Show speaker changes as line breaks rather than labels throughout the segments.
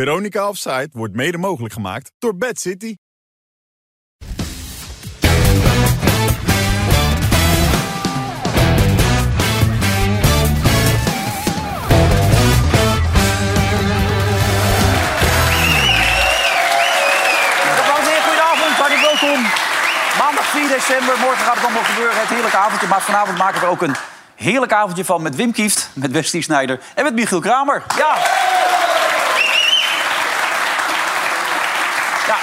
Veronica Offside wordt mede mogelijk gemaakt door Bad City.
Dames en heren, goedenavond. Hartelijk welkom. Maandag 4 december. Morgen gaat het allemaal gebeuren. Het heerlijke avondje. Maar vanavond maken we er ook een heerlijk avondje van. Met Wim Kieft, met Westie Snijder en met Michiel Kramer. Ja. ja.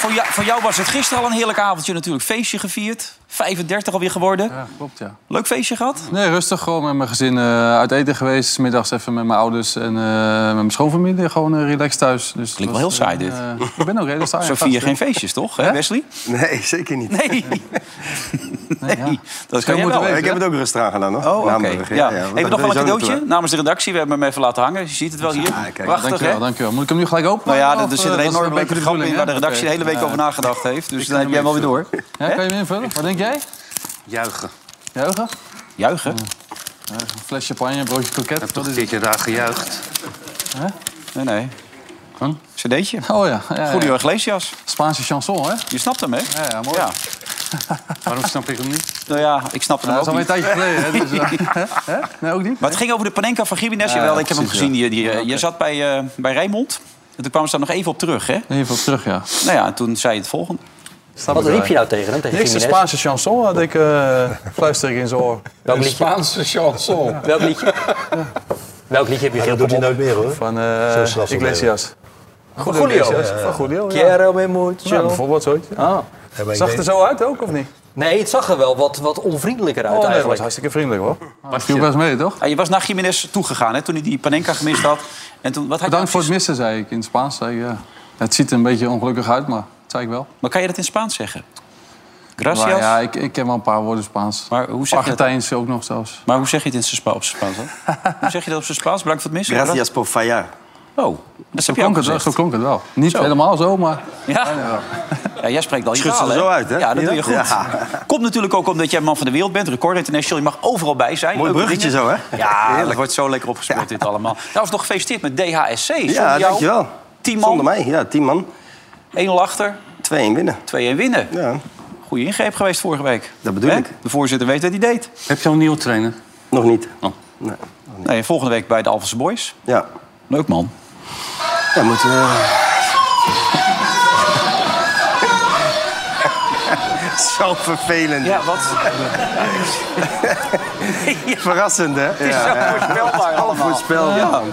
Voor, jou, voor jou was het gisteren al een heerlijk avondje natuurlijk. Feestje gevierd. 35 alweer geworden.
Ja, klopt, ja.
Leuk feestje gehad?
Nee, rustig gewoon met mijn gezin eh, uit eten geweest. 's Middags even met mijn ouders en eh, met mijn schoonfamilie. Gewoon eh, relaxed thuis. Dus
Klinkt
het
wel heel
was,
saai,
eh, eh, ik ben ook redelijk saai. dus
Zo vier je geen feestjes, toch? Hè, Wesley?
Nee, zeker niet.
Nee. Nee, Nou dat kan
Zo
jij
moeten
wel.
we
ik heb het ook rustig aan gedaan, hoor.
Oh, oké.
Namelijk,
Ja.
want
Even
dat
nog wel een
wil je zo niet
cadeautje
doen.
namens de redactie. We hebben hem even laten hangen. Je ziet het wel hier.
kijk,
Prachtig, hè?
Dankjewel, dankjewel. Moet ik hem nu gelijk open?
Nou ja,
eh,
er zit een enorme grap in waar de redactie de hele week over nagedacht heeft. Dus dan heb jij wel weer door.
Ja, kan je hem invullen? Wat denk jij?
Juichen.
Juichen?
Juichen?
Juichen. Een fles champagne, een broodje kroket.
Toch
Wat
een
is het?
keertje raar gejuicht.
Nee, nee.
Huh?
Cd'tje.
Oh ja, ja, ja,
Julio Iglesias.
Spaanse chanson, hè?
Je snapt hem, hè?
Ja, ja mooi.
Ja.
Waarom snap ik hem niet?
Nou ja, ik snapte
Nou,
hem
dat is
ook
alweer een
niet.
tijdje geleden, hè? Dus, eh, hè? Nee, ook niet?
Maar het ging over de Panenka van Gimenez.
Ja,
Jawel, ik heb hem
precies,
gezien.
ja.
Die, die, eh, Je zat bij, eh bij Rijnmond. En toen kwamen ze daar nog even op terug, hè?
Even op terug, ja.
Nou ja, en toen zei je het volgende.
Wat riep je nou tegen hem? Tegen
Niks, een
Jiménez?
Spaanse chanson had ik, eh, fluister ik in zijn oor. Dus-
Welk liedje?
Spaanse chanson.
Welk liedje? Welk liedje heb je
Dat doet hij
geroepen?
nooit meer, hoor.
Van eh
Zo slap
Iglesias.
Van Julio.
Van Julio, ja.
Quiero me
Ja,
mucho.
bijvoorbeeld zoiets. ja.
Ah.
Ja, maar ik
Zag
weet-
er zo uit ook, of niet?
Nee, het zag er wel wat, wat onvriendelijker uit
Oh nee, dat was
eigenlijk.
hartstikke vriendelijk hoor. Maar viel best mee, toch?
Ah, je was naar Gimenez toegegaan, hè? Toen hij die Panenka gemist had. En toen, wat had je nou
Bedankt voor
precies-
het missen, zei ik in het Spaans. Zei ik, ja. Het ziet er een beetje ongelukkig uit, maar dat zei ik wel.
Maar kan je dat in Spaans zeggen?
Maar
Nou
Gracias.
ja, ik, ik ken wel een paar woorden Spaans.
Maar hoe zeg je dat?
Argentijns ook nog
eh,
zelfs.
Maar hoe zeg je het in zijn Spa- op zijn Spaans? hè? hoe zeg je dat op zijn Spaans? Bedankt voor het missen.
Gracias por fallar.
Oh, dat heb je ook
Klonk het, wel-
gezegd.
zo klonk het wel. Niet
Zo.
helemaal zo, maar...
Ja. ja, jij spreekt al je
Schudt ze
taal,
er zo uit, hè?
Ja, dat doe je
Ja.
goed.
Ja.
Komt natuurlijk ook omdat jij man van de wereld bent. Record International, je mag overal bij zijn.
Mooi
Leuke
bruggetje
dingen.
zo, hè?
Ja,
Heerlijk.
dat wordt zo lekker opgespeeld, dit allemaal. Trouwens, nog gefeliciteerd met DHSC. Zonder
Ja,
jou,
dankjewel.
Tien
Zonder
man,
mij, ja, tien man.
1-0 achter,
2-1 winnen.
2-1 winnen.
Ja,
Goeie ingreep geweest vorige week.
Dat bedoel
Hè?
ik.
De voorzitter weet wat hij deed.
Heb je al een nieuwe trainer?
nog niet.
Oh.
Nee.
Nee, volgende week bij de Alphense Boys.
Ja.
Leuk, man.
Ja, moet... eh Zo vervelend.
Ja, wat?
Verrassend, hè? Het
zo voorspelbaar
Half
allemaal.
voorspelbaar. Ja.
Oh.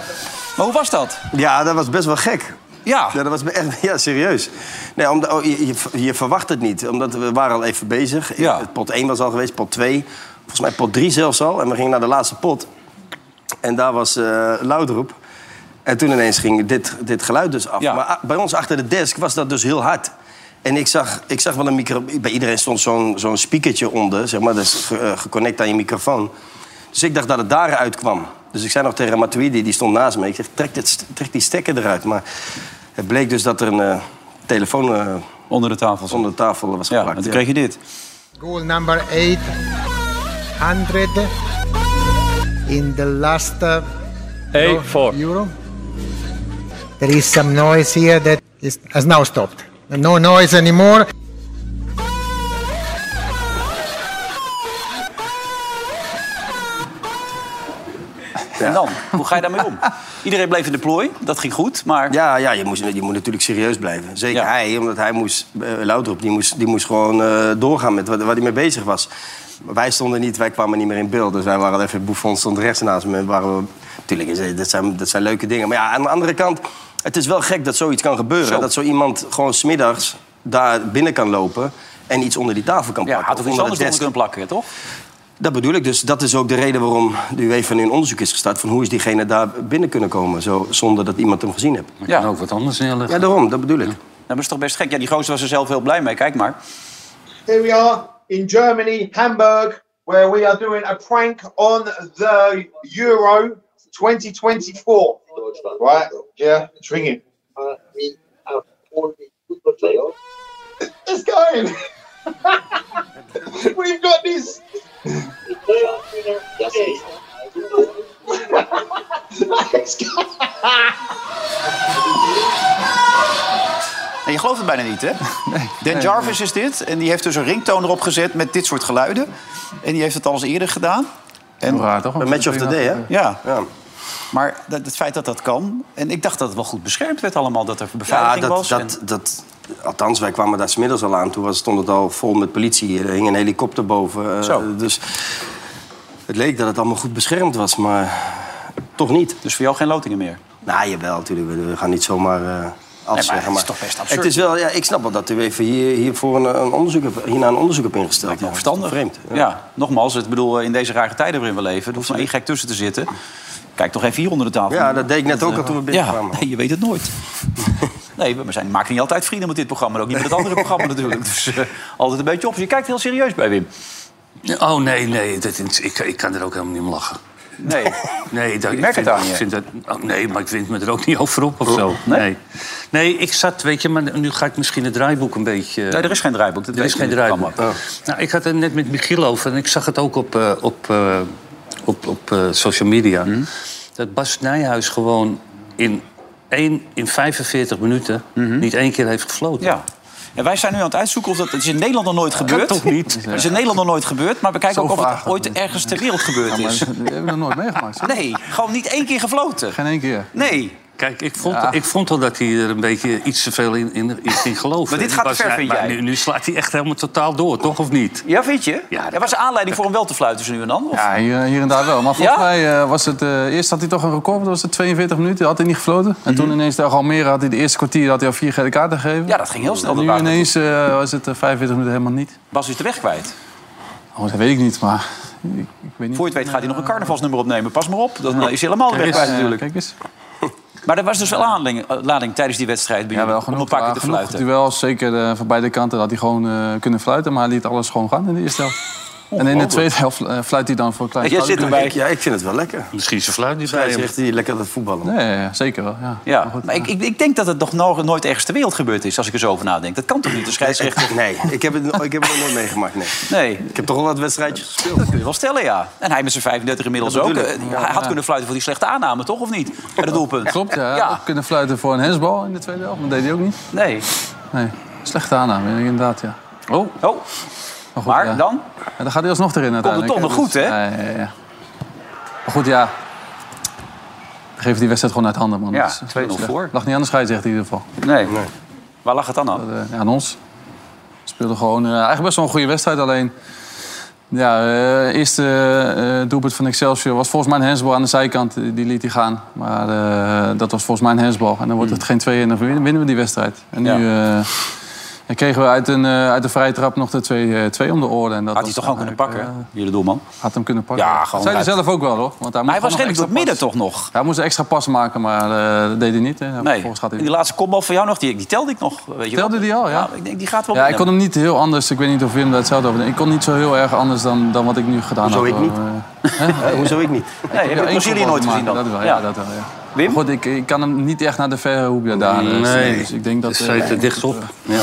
Maar hoe was dat?
dat was best wel gek.
Ja.
Ja, dat was echt ja, serieus. Nee, omdat, oh, je, je, je verwacht het niet, omdat we waren al even bezig.
Ja.
Pot 1 was al geweest, pot 2. Volgens mij pot 3 zelfs al. En we gingen naar de laatste pot. En daar was eh Loudroep. En toen ineens ging dit, dit geluid dus af.
Ja.
Maar a- bij ons achter de desk was dat dus heel hard. En ik zag, ik zag wel een micro... Bij iedereen stond zo'n zo'n speakertje onder, zeg maar. Dat is ge- eh, geconnect aan je microfoon. Dus ik dacht dat het daaruit kwam. Dus ik zei nog tegen Matuidi, die stond naast me... Ik zeg, trek, dit, st- trek die stekker eruit. Maar het bleek dus dat er een eh, telefoon eh,
Onder de tafel.
onder de tafel was
Ja,
geplakt.
en toen kreeg je dit.
Goal number 800 in the last uh,
Hey, voor.
euro. There is some noise here that is, has now stopped. No noise anymore.
En dan? Hoe ga je daarmee om? Iedereen bleef in de plooi. Dat ging goed, maar...
Ja, ja je, moest, je moet natuurlijk serieus blijven. Zeker
Ja.
hij, omdat hij moest... eh, Laudrup, die moest, die moest gewoon eh, doorgaan met wat, waar hij mee bezig was. Wij stonden niet, wij kwamen niet meer in beeld. Dus wij waren even... Buffon stond rechts naast me. en Waren we, tuurlijk, is het- dat zijn, dat zijn leuke dingen. Maar ja, aan de andere kant... Het is wel gek dat zoiets kan gebeuren.
Zo.
Dat zo iemand gewoon smiddags daar binnen kan lopen... en iets onder die tafel kan
Ja,
plakken.
had
of
toch iets
onder
anders door
het desk.
kunnen plakken, toch?
Dat bedoel ik dus. Dat is ook de reden waarom de UEFA nu een onderzoek is gestart... van hoe is diegene daar binnen kunnen komen... Zo, zonder dat iemand hem gezien heeft.
Ja. Kan ook wat anders neerleggen.
Ja, daarom. Dat bedoel ik.
Dat is toch best gek. Ja, die gozer was er zelf heel blij mee. Kijk maar.
Here we are in Germany, Hamburg, where we are doing a prank on the Euro 2024. Right? Yeah, it's ringing. It's going. We've got this. it's going.
En je gelooft het bijna niet, hè? Dan Jarvis is dit. En die heeft dus een ringtoon erop gezet met dit soort geluiden. En die heeft het al eens eerder gedaan.
Heel raar, toch?
Een match of the day, hè?
Ja,
Ja.
maar dat, het feit dat dat kan... En ik dacht dat het wel goed beschermd werd allemaal. Dat er
Ja,
beveiliging
dat,
was. en-
dat, dat, althans, wij kwamen daar smiddags al aan. Toen was, stond het al vol met politie. Er hing een helikopter boven. eh,
Zo.
Dus het leek dat het allemaal goed beschermd was, maar toch niet.
Dus voor jou geen lotingen meer.
Nou, jawel, natuurlijk. We, we gaan niet zomaar eh afzeggen.
het is toch best absurd.
Het is wel, ja, ik snap wel dat u even hier, hiervoor een, een onderzoek hebt- hierna een onderzoek hebt ingesteld. Ja, dat is toch
Verstandig.
Vreemd.
Ja. nogmaals, ik bedoel, in deze rare tijden waarin we leven... er hoeft maar één gek tussen te zitten. Kijk toch even hier onder de tafel.
Ja, dat deed ik net ook al toen we
Ja,
binnenkwamen.
nee, je weet het nooit. Nee, we zijn, maken niet altijd vrienden met dit programma. en Ook niet met het andere programma natuurlijk. Dus eh, altijd een beetje op. Je kijkt heel serieus bij Wim.
Oh, nee, nee. Dat, ik, ik kan er ook helemaal niet om lachen.
Nee.
Nee, dat,
Ik merk
ik vind,
het aan je.
ik vind dat, oh, nee, maar ik vind me er ook niet over op of zo. Nee? nee. ik zat, weet je, maar nu ga ik misschien het draaiboek een beetje...
Nee, er is geen draaiboek. Dat
Er
weet
is
je
geen
in dit
draaiboek.
programma.
Nou, ik had het net met Michiel over en ik zag het ook op, eh, op, eh, op, op eh, social media.
Mhm.
Dat Bas Nijhuis gewoon in, één, in 45 minuten niet één keer heeft gefloten.
Mhm. Ja. En wij zijn nu aan het uitzoeken of dat... Het is in Nederland nog nooit gebeurd.
toch niet?
Het is in Nederland nog nooit gebeurd. Maar we kijken
Zo
ook of
vaag
het
dat
ooit
het-
ergens ter wereld gebeurd
Maar
is.
dat hebben we nog nooit meegemaakt. zeg.
Nee, gewoon niet één keer gefloten.
Geen één keer.
Nee.
Kijk, ik vond, ik vond al dat hij er een beetje iets te veel in, in, in ging geloven.
Maar dit
Die
gaat te
Bas
ver,
Nij-
vind
maar
jij?
Nu, nu slaat hij echt helemaal totaal door, toch of niet?
Ja, vind je?
Ja, dat-
er was aanleiding voor hem wel te fluiten zo nu en dan? Of?
Ja, hier, hier en daar wel. Maar volgens
Ja?
mij eh, was het... eh, eerst had hij toch een record, dat was het 42 minuten. Had hij niet gefloten. En toen ineens tegen Almere had hij de eerste kwartier had hij al vier gele kaarten gegeven.
Mhm. Ja, dat ging heel snel,
En
dat
nu
waren
ineens eh, was het eh, 45 minuten helemaal niet.
Bas is de weg kwijt.
Oh, dat weet ik niet, maar... Ik, ik weet niet.
Voor je het weet gaat hij nog een carnavalsnummer opnemen. Pas maar op, dan eh, is hij helemaal de weg kwijt
Eh,
natuurlijk.
Kijk eens.
Maar er was dus wel aanleiding eh, lading tijdens die wedstrijd bij
Ja,
jullie
wel
om
genoeg.
een paar keer te
eh, genoeg
fluiten.
duels, zeker eh, van beide kanten, had hij gewoon eh, kunnen fluiten. Maar hij liet alles gewoon gaan in de eerste helft. En in de tweede helft eh, fluit hij dan voor een klein...
Jij zit
Maar
erbij.
ik, ja, ik vind het wel lekker.
Misschien zijn fluit niet bij
Zij
hem.
zegt die lekker dat voetballen.
Nee, ja, zeker wel, ja.
Ja, maar ik, ik, ik denk dat het nog no- nooit ergens ter wereld gebeurd is, als ik er zo over nadenk. Dat kan toch niet? De scheidsrechter.
Nee, ik heb het, ik heb het nog nooit meegemaakt. Nee.
Nee,
Ik heb toch al wat wedstrijdjes gespeeld.
kun je wel stellen, ja. En hij met zijn 35 inmiddels
Dat
ook.
bedoel ik.
Eh, Hij had kunnen fluiten voor die slechte aanname, toch? Of niet? Bij het doelpunt.
Klopt, ja. Hij
Ja.
had ook kunnen fluiten voor een hensbal in de tweede helft. Maar dat deed hij ook niet.
Nee.
Nee, slechte aanname, inderdaad, ja. Oh,
Oh,
maar, goed,
maar
ja.
dan?
Ja, dan gaat hij alsnog erin uiteindelijk.
toch nog
Dus-
goed, hè?
Ja, ja, ja. Maar goed, ja. Dan Geef die wedstrijd gewoon uit handen, man.
Ja,
Dat is-
2-0
dat is-
voor.
Lag niet aan de scheidsrechter in ieder geval.
Nee. Waar lag het dan aan?
Eh, ja, aan ons. We speelden gewoon eh, eigenlijk best wel een goede wedstrijd. Alleen, ja, eh, eerste eh, doelpunt van Excelsior was volgens mij een hensbal aan de zijkant. eh, Die liet hij gaan. Maar eh, dat was volgens mij een hensbal. En dan wordt het
Hmm.
geen 2 en dan win- winnen we die wedstrijd. En nu eh, ja, kregen we uit een, eh, uit een vrije trap nog de 2-2 om de oren. En
Had
dat
hij
was
toch gewoon kunnen
eigenlijk,
pakken, jullie doelman?
eh, had hem kunnen pakken.
Ja,
dat
gewoon
zei hij
uit.
zelf ook wel, hoor. Want hij
Maar hij was
moest gewoon
redelijk door
nog
het
extra
midden
pas-
toch nog?
Hij moest een extra pas maken, maar eh, dat deed hij niet. Hè.
Nee.
Vervolgens gaat
En
hij
die laatste kopbal van jou nog, die, die telde ik nog. Weet je wel.
Telde die al, ja.
Ik denk, die gaat wel
Ja, ik
binnen.
kon hem niet heel anders. Ik weet niet of Wim daar hetzelfde over denkt. Ik kon niet zo heel erg anders dan, dan wat ik nu gedaan
Hoezo
heb.
ik niet? Eh, hoezo ik niet?
Nee, heb ik Brazilië nooit gezien dan?
Dat wel, ja. dat wel, ja.
Wim?
Maar Goed, ik, ik kan hem niet echt naar de verre hoek daar. daar, eh, sturen. Dus ik denk dat...
dat
eh,
zei te dicht op. Ja.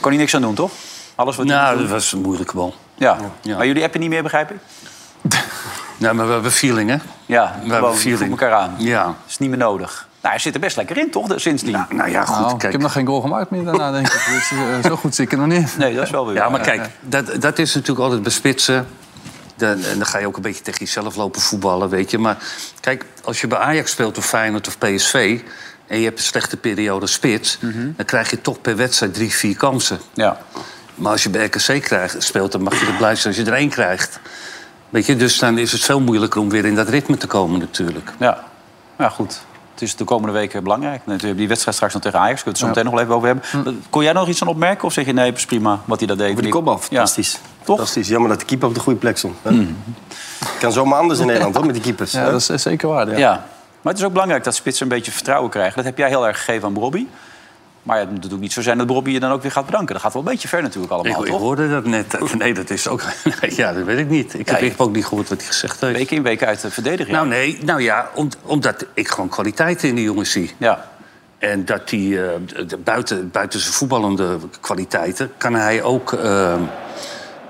Kon hij niks aan doen, toch? Alles wat hij
Nou,
moest
dat
doen.
was een moeilijke bal.
ja.
ja.
Maar jullie appen niet meer, begrijp ik?
Nou, maar we hebben feeling, hè?
Ja,
We hebben
gewoon voel
feeling.
elkaar aan.
Ja.
is niet meer nodig. Nou, hij zit er best lekker in, toch, de- sindsdien?
Nou ja, goed,
nou, ik
kijk.
heb nog geen goal gemaakt meer daarna, denk ik. Dus, eh, zo goed zit ik er nog niet.
Nee, dat is wel weer
Ja,
waar.
maar kijk, dat, dat is natuurlijk altijd bespitsen. Dan, en dan ga je ook een beetje tegen jezelf lopen voetballen, weet je. Maar kijk, als je bij Ajax speelt of Feyenoord of PSV... en je hebt een slechte periode spits... dan krijg je toch per wedstrijd drie, vier kansen.
Ja.
Maar als je bij RKC krijgt, speelt, dan mag je er blij zijn als je er één krijgt. Weet je, dus dan is het veel moeilijker om weer in dat ritme te komen natuurlijk.
Ja. ja, goed. Het is de komende weken belangrijk. Natuurlijk hebben die wedstrijd straks nog tegen Ajax. Kunnen we het zo meteen nog wel even over
Hm.
hebben. Kon jij daar nog iets aan opmerken? Of zeg je, nee, het is prima wat hij dat deed?
Voor die kopbal, fantastisch.
Toch?
Fantastisch. Jammer dat de keeper op de goede plek stond. hè? Kan zomaar anders in Nederland, hoor, met die keepers.
Ja,
hè?
dat is eh, zeker waar, ja.
Ja. Maar het is ook belangrijk dat spitsen een beetje vertrouwen krijgen. Dat heb jij heel erg gegeven aan Robbie. Maar ja, het moet natuurlijk niet zo zijn dat Robbie je dan ook weer gaat bedanken. Dat gaat wel een beetje ver natuurlijk
Ik,
allemaal,
ik
toch?
hoorde dat net. Nee, dat is ook... Nee, ja, dat weet ik niet. Ik
Ja,
heb,
je-
ik heb ook niet gehoord wat hij gezegd heeft.
Week in, week uit eh, de verdediging.
Nou nee, nou ja, om- omdat ik gewoon kwaliteiten in die jongen zie.
ja.
En dat hij eh, de- de- buiten, buiten zijn voetballende kwaliteiten... kan hij ook eh,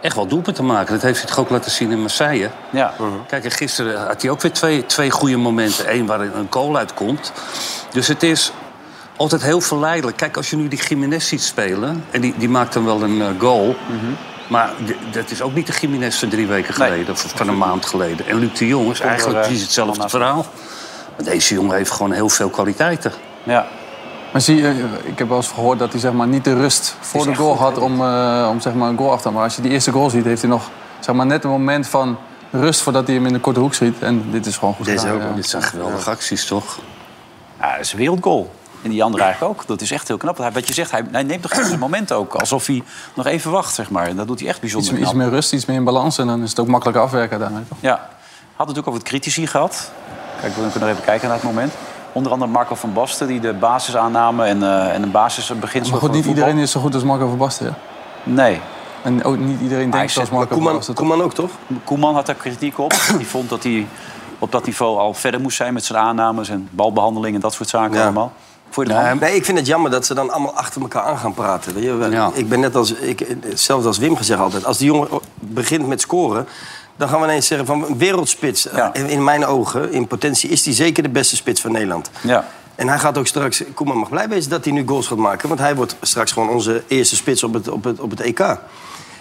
echt wel doelpunten maken. Dat heeft hij toch ook laten zien in Marseille.
Ja.
Mhm. Kijk, en gisteren had hij ook weer twee, twee goede momenten. Eén waar een goal uitkomt. Dus het is... altijd heel verleidelijk. Kijk, als je nu die Jiménez ziet spelen... en die, die maakt dan wel een eh, goal...
Mhm.
maar d- dat is ook niet de Jiménez van drie weken geleden... of van een maand geleden. En Luc de Jong is eigenlijk
eh,
precies hetzelfde
allemaal
verhaal. Maar deze jongen heeft gewoon heel veel kwaliteiten.
Ja.
Maar zie je, ik heb wel eens gehoord dat hij zeg maar, niet de rust voor de goal had om, eh, om zeg maar, een goal af te maken. Maar als je die eerste goal ziet, heeft hij nog zeg maar, net een moment van rust voordat hij hem in de korte hoek schiet. En dit is gewoon goed
Dit, is
gedaan,
ook,
ja.
dit zijn geweldige acties, toch?
Ja, dat is een wereldgoal. En die andere eigenlijk ook. Dat is echt heel knap. Want hij- Wat je zegt, hij, hij neemt toch echt het moment ook. Alsof hij nog even wacht, zeg maar. En dat doet hij echt
Iets,
bijzonder
iets
knap.
meer rust, iets meer in balans en dan is het ook makkelijker afwerken daarmee. toch?
Ja. Had het ook over het critici gehad. Kijk, we kunnen nog even kijken naar het moment. Onder andere Marco van Basten, die de basis aanname en, eh, en een basisbeginsel
Maar goed,
van
niet
voetbal.
iedereen is zo goed als Marco van Basten. ja.
Nee.
En ook niet iedereen
hij zet-
denkt zoals Marco van
Koeman,
Basten. toch?
Koeman ook, toch?
Koeman had daar kritiek op. Die vond dat hij op dat niveau al verder moest zijn met zijn aannames... en balbehandeling en dat soort zaken
Ja.
allemaal. Voor de hand.
Nou, Nee, ik vind het jammer dat ze dan allemaal achter elkaar aan gaan praten. Weet je? wel.
Ja.
Ik ben net als, ik, hetzelfde als Wim gezegd altijd. Als die jongen begint met scoren, dan gaan we ineens zeggen van wereldspits. Eh,
Ja.
In, in mijn ogen, in potentie, is hij zeker de beste spits van Nederland.
Ja.
En hij gaat ook straks, Koeman mag blij wezen dat hij nu goals gaat maken. Want hij wordt straks gewoon onze eerste spits op het, op het, op het EK.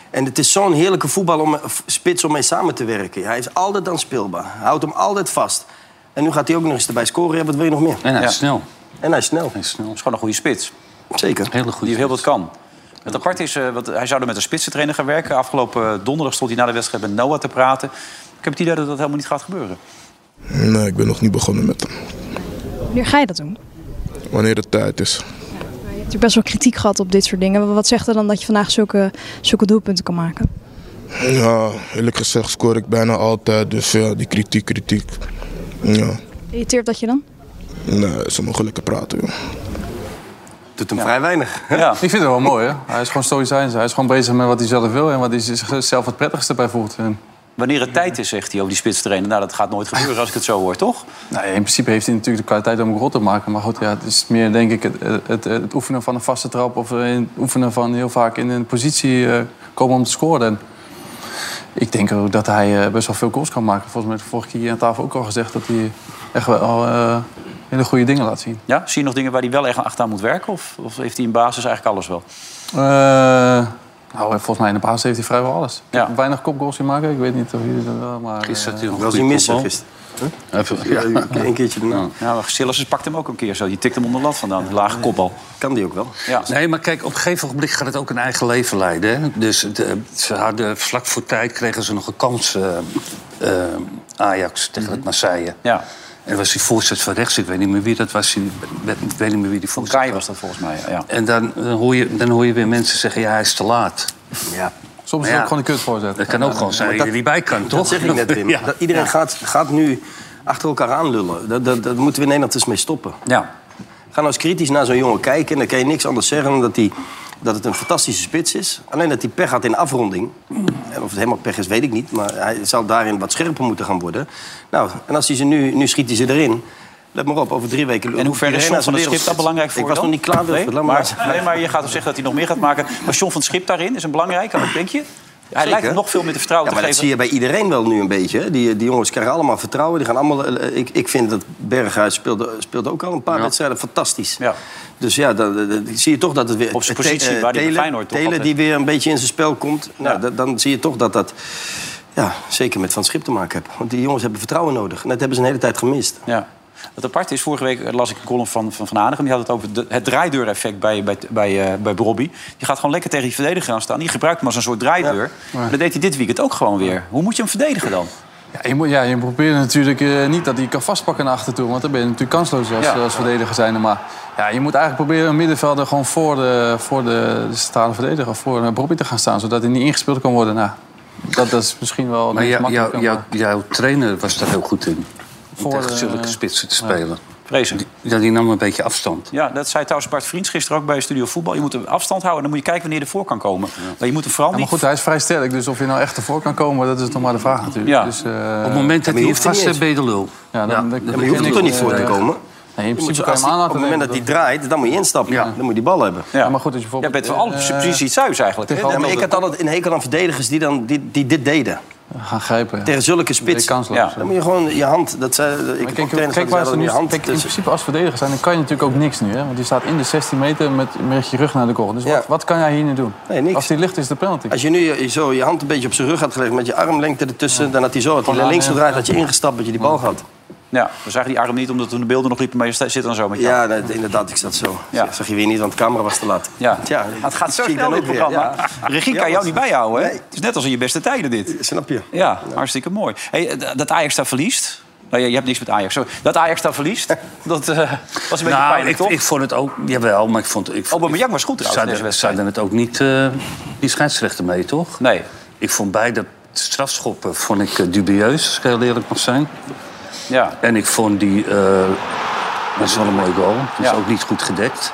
En het is zo'n heerlijke voetbal om, spits om mee samen te werken. Hij is altijd dan speelbaar. Hij houdt hem altijd vast. En nu gaat hij ook nog eens erbij scoren. Ja, wat wil je nog meer?
En hij
Ja.
is snel.
En hij is snel.
Hij is snel.
Dat is gewoon een goede spits.
Zeker.
Hele
Die
goede
heel wat kan. Het apart is, eh, want hij zou er met een spitsentrainer gaan werken. Afgelopen eh, donderdag stond hij na de wedstrijd met Noah te praten. Ik heb het idee dat dat helemaal niet gaat gebeuren.
Nee, ik ben nog niet begonnen met hem.
Wanneer ga je dat doen?
Wanneer het tijd is.
Je hebt natuurlijk best wel kritiek gehad op dit soort dingen. Wat zegt er dan dat je vandaag zulke, zulke doelpunten kan maken?
Ja, eerlijk gezegd scoor ik bijna altijd. Dus ja, die kritiek, kritiek. Ja,
Irriteert dat je dan?
nee, ze mogen lekker praten, joh.
Doet hem vrij weinig.
Ja,
Ik vind het wel mooi, hè? Hij is gewoon stoïcijns. Hij is gewoon bezig met wat hij zelf wil en wat hij zichzelf het prettigste bij voelt. En,
wanneer het tijd is, zegt hij over die spitsentrainer. Nou, dat gaat nooit gebeuren als ik het zo hoor, toch?
nou, ja, in principe heeft hij natuurlijk de kwaliteit om een rot te maken. Maar goed, ja, het is meer denk ik het, het, het oefenen van een vaste trap of eh, het oefenen van heel vaak in een positie eh, komen om te scoren. En ik denk ook dat hij eh, best wel veel goals kan maken. Volgens mij heeft de vorige keer hier aan tafel ook al gezegd dat hij echt wel eh, hele goede dingen laat zien.
Ja? Zie je nog dingen waar hij wel echt achteraan moet werken? Of, of heeft hij in basis eigenlijk alles wel?
Eh, nou, volgens mij in de basis heeft hij vrijwel alles.
Ja.
Weinig kopgoals in maken, ik weet niet of jullie dat wel, maar... eh,
Gisteren had hij nog een
Was niet
goede
missen
kopbal.
gisteren.
Ja.
Ja, Een keertje daarna.
Nou, Sillessen pakt hem ook een keer zo. Die tikt hem onder de lat vandaan. Die Lage kopbal.
Kan die ook wel.
Ja.
Nee, maar kijk, op een gegeven moment gaat het ook een eigen leven leiden. Hè? Dus de- ze hadden, vlak voor tijd kregen ze nog een kans, eh, eh, Ajax tegen het Marseille.
Mhm. Ja.
En was die voorzet van rechts, ik weet niet meer wie dat was. die- Ik weet niet meer wie die voorzet
Kai was dat volgens mij. Ja.
En dan, eh, hoor je, dan hoor je weer mensen zeggen, ja, hij is te laat. Ja,
Soms is
Maar
het
ja,
ook gewoon een kut voorzet.
dat kan ook gewoon zijn dat je er niet bij kan, toch?
Dat zeg ik net, Wim.
Ja.
Dat iedereen gaat, gaat nu achter elkaar aanlullen. Dat, dat, dat moeten we in Nederland eens mee stoppen.
ja.
Ga nou eens kritisch naar zo'n jongen kijken... en dan kan je niks anders zeggen dan dat, die, dat het een fantastische spits is. Alleen dat hij pech had in afronding. En Of het helemaal pech is, weet ik niet. Maar hij zal daarin wat scherper moeten gaan worden. Nou, en als hij ze nu... Nu schiet hij ze erin. Let maar op, over drie weken...
En hoe ver is
iedereen
John
als
van
een
het Schip daar
wereldspits.
belangrijk voor
Ik was
dan?
nog niet klaar,
nee,
Wilfried. Laat maar
maar, nee, maar je gaat toch zeggen dat hij nog meer gaat maken. Maar John van het Schip daarin is een belangrijke, wat denk je? Hij
Zeker.
lijkt hem nog veel meer te vertrouwen
Ja, maar
te
dat
geven.
zie je bij iedereen wel nu een beetje. hè. Die, die jongens krijgen allemaal vertrouwen. Die gaan allemaal, eh, ik, ik vind dat Berghuis speelde, speelde ook al een paar wedstrijden fantastisch.
Ja.
Dus ja, dan, dan- dan zie je toch dat het weer...
Op zijn
eh, Te-
positie,
eh,
waar die bij
Telen-
Feyenoord toch
Telen
altijd-
die weer een beetje in zijn spel komt. Nou,
Ja.
dat- dan zie je toch dat dat ja, zeker met Van Schip te maken heeft. Want die jongens hebben vertrouwen nodig. En dat hebben ze een hele tijd gemist.
Ja. Wat apart is, vorige week las ik een column van Van, van Hanegem. Die had het over de- het draaideur-effect bij, bij, bij, eh, bij Robbie. Die gaat gewoon lekker tegen die verdediger aan staan. Die gebruikt hem als een soort draaideur. Maar dat deed hij dit weekend ook gewoon weer. Hoe moet je hem verdedigen dan?
Ja, je, moet, ja, je probeert natuurlijk eh, niet dat hij kan vastpakken naar achter toe. Want dan ben je natuurlijk kansloos als,
Ja.
als verdediger zijnde. Maar ja, je moet eigenlijk proberen een middenvelder gewoon voor de, voor de, de centrale verdediger... of voor een Bobby te gaan staan, zodat hij niet ingespeeld kan worden. Nou, dat, dat is misschien wel het
Maar
meest
jou-
makkelijke,
jou- jou-
maar
jouw trainer was daar heel goed in.
Voor,
Om tegen
eh,
zulke spitsen te spelen.
Vrezen.
Ja, die nam een beetje afstand.
Ja, dat zei trouwens Bart Vriends gisteren ook bij Studio Voetbal. Je moet hem afstand houden en dan moet je kijken wanneer hij ervoor kan komen. Maar je moet hem vooral
Ja, maar
niet...
goed, hij is vrij sterk. Dus of je nou echt ervoor kan komen, dat is nog maar de vraag natuurlijk.
Ja.
Dus, eh,
Op het moment
maar je
dat hij
hoeft
vast
er niet
hebt, ben je de lul.
ja, dan, dan-
Ja, maar je hoeft er
dan-
toch niet voor te
eh,
komen?
Nee, in
Je moet
principe
zo-
kan je
als
hem aan
die- op
laten
het moment dat hij
nemen.
draait, dan moet je instappen.
Ja.
Dan moet je die bal hebben.
Ja, maar goed,
Ja,
als je bijvoorbeeld...
bent wel alles
eh,
precies iets thuis eigenlijk.
tegen
hè?
Ja, maar ik had altijd een hekel aan verdedigers die, dan, die, die dit deden.
gaan grijpen. ja.
Tegen zulke spits.
Ben je kansloos. eh.
Dan moet je gewoon je hand... Dat zei, ik heb ook
Kijk,
trainers
kijk
gehad die
waar ze
zeiden,
nu,
je hand dus
kijk, in
dus-
tussen-
principe als verdediger zijn, dan kan je natuurlijk ook niks nu. Hè? Want die staat in de 16 meter met, met je rug naar de goal. Dus wat, wat kan jij hier nu doen?
Nee, niks.
Als die licht is de penalty.
Als je nu je- zo je hand een beetje op zijn rug had gelegd met je armlengte ertussen, dan had hij zo had hij
Gewoon
naar links
aan-
gedraaid, had je ingestapt, dat je die bal gehad.
Ja, we zagen die arm niet, omdat toen de beelden nog liepen, maar je sta- zit dan zo met jou.
Ja, dat- inderdaad, ik zat zo.
Ja.
Dat zag je weer niet, want de camera was te laat.
Ja.
Tja,
Het gaat zo
zie ik
snel,
dan
dit
ook weer,
programma.
ja.
Regie
Ja,
kan jou
want-
niet bijhouden, hè?
Nee.
Het is net als in je beste tijden, dit.
Snap je?
Ja, hartstikke mooi. Hey, d- dat Ajax daar verliest... Nou, je, je hebt niks met Ajax, sorry. Dat Ajax daar verliest, dat eh, was een beetje
nou,
pijnlijk,
ik,
toch?
ik vond het ook... Jawel, maar ik vond... Ik vond
Aubameyang was goed
Ze
trouwens in deze
hadden- ze
wedstrijd.
hadden het ook niet... eh, die scheidsrechter mee, toch?
Nee.
Ik vond beide strafschoppen vond ik, eh, dubieus, als ik heel eerlijk mag zijn.
Ja.
En ik vond die... eh, dat is wel een mooie goal. Dat is
Ja.
ook niet goed gedekt.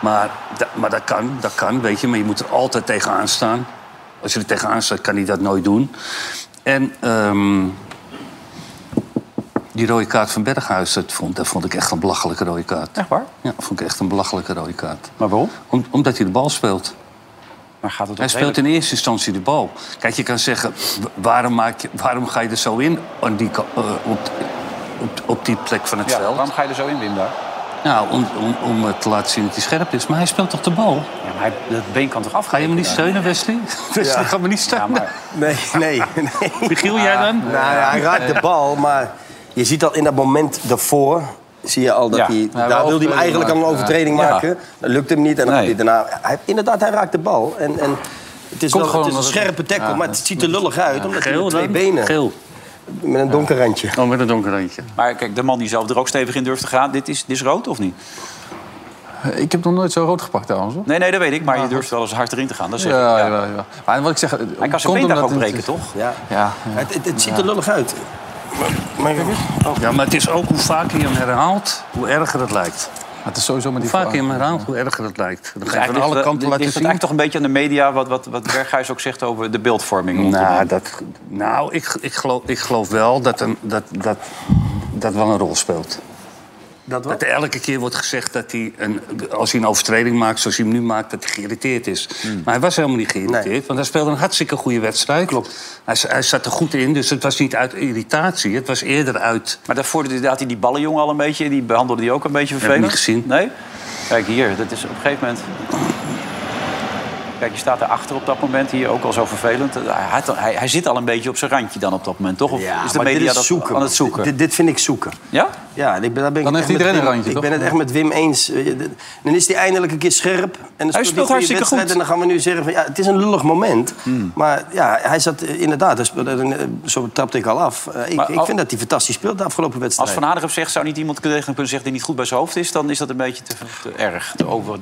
Maar, da- maar dat kan, dat kan, weet je. Maar je moet er altijd tegenaan staan. Als je er tegenaan staat, kan hij dat nooit doen. En ehm, die rode kaart van Berghuis, dat vond, dat vond ik echt een belachelijke rode kaart.
Echt waar?
Ja, dat vond ik echt een belachelijke rode kaart.
Maar waarom?
Om, omdat hij de bal speelt.
Maar gaat het
Hij speelt in eerste instantie de bal. Kijk, je kan zeggen, w- waarom, maak je, waarom ga je er zo in aan die, ka- eh, op, op, op die plek van het
Ja,
veld?
waarom ga je er zo in, Wim, daar?
Nou, om, om, om eh, te laten zien dat hij scherp is. Maar hij speelt toch de bal?
Ja, maar hij, dat been kan toch af?
Ga je hem niet steunen, Wesley? Wesley, ga me niet steunen.
Nee, nee. nee.
Michiel, jij
Ah,
dan?
Nou ja, hij raakt de bal, maar je ziet al in dat moment daarvoor... zie je al dat
Ja.
hij...
Ja,
daar
wel
wilde hij hem eigenlijk al een overtreding
Ja.
maken. Dat lukt hem niet en dan
Nee.
gaat hij daarna... Hij, inderdaad, hij raakt de bal. En, en het is,
Komt
wel,
gewoon
het is een
omdat het-
scherpe tackle,
Ja,
maar het
dat-
ziet er lullig uit. omdat hij
Geel
met twee
dan?
benen...
Geel.
Met een donker randje.
Oh, met een donker randje.
Maar kijk, de man die zelf er ook stevig in durft te gaan, dit is, dit is rood of niet?
Eh, Ik heb nog nooit zo rood gepakt trouwens. Hoor.
Nee, nee, dat weet ik, maar je durft wel eens hard erin te gaan. Dat is
Ja, ja. Jawel, jawel. Maar wat ik zeg, eh,
Hij kan zijn been daar gewoon breken, toch?
Ja.
Ja,
Het, het, het ziet er lullig uit. Maar, maar-
Oh.
Ja, maar het is ook hoe vaker je hem herhaalt, hoe erger het lijkt.
het is sowieso met
Hoe
die
vaker je hem
verhaal.
herhaalt, hoe erger het lijkt. Dan
Dus
ga je van
eigenlijk
alle
ligt-
kanten
ligt
laten
het
zien.
eigenlijk toch een beetje aan de media... wat, wat, wat Berghuis ook zegt over de beeldvorming. rondom
Nou,
hem.
dat, nou ik, ik, geloof, ik geloof wel dat, een, dat, dat dat wel een rol speelt.
dat
Dat
wat?
er elke keer wordt gezegd dat hij, een, als hij een overtreding maakt zoals hij hem nu maakt, dat hij geïrriteerd is.
Hmm.
Maar hij was helemaal niet geïrriteerd,
Nee.
want hij speelde een hartstikke goede wedstrijd. Klopt. Hij, hij zat er goed in, dus het was niet uit irritatie. Het was eerder uit.
Maar daarvoor deed hij die ballenjongen al een beetje. Die behandelde die ook een beetje
Heb ik
vervelend.
niet gezien.
Nee? Kijk hier, dat is op een gegeven moment... Kijk, je staat erachter op dat moment hier, ook al zo vervelend. Eh, Hij, had- hij, hij zit al een beetje op zijn randje dan op dat moment, toch? Of is de
maar
media
dit is
dat
zoeken,
aan het
man.
zoeken?
Dit, dit vind ik zoeken.
ja?
Ja, en ik ben, daar ben ik
Dan
het
heeft
echt
iedereen
met
een
Wim-
randje,
Ik
toch?
ben het echt met Wim eens. Weet je, dit- Dan is hij eindelijk een keer scherp. En dan
speelt
hij een goede
hartstikke
wedstrijd
goed. Hmm.
En dan gaan we nu zeggen, van, ja, het is een lullig moment. Maar ja, hij zat eh, inderdaad, hij speelde een, eh, zo trapte ik al af. Eh, Ik,
Maar
ik
al-
vind dat hij fantastisch speelt de afgelopen wedstrijd.
Als Van Aardigem zegt, zou niet iemand tegen hem kunnen zeggen... die niet goed bij zijn hoofd is, dan is dat een beetje te, te erg. Te, over,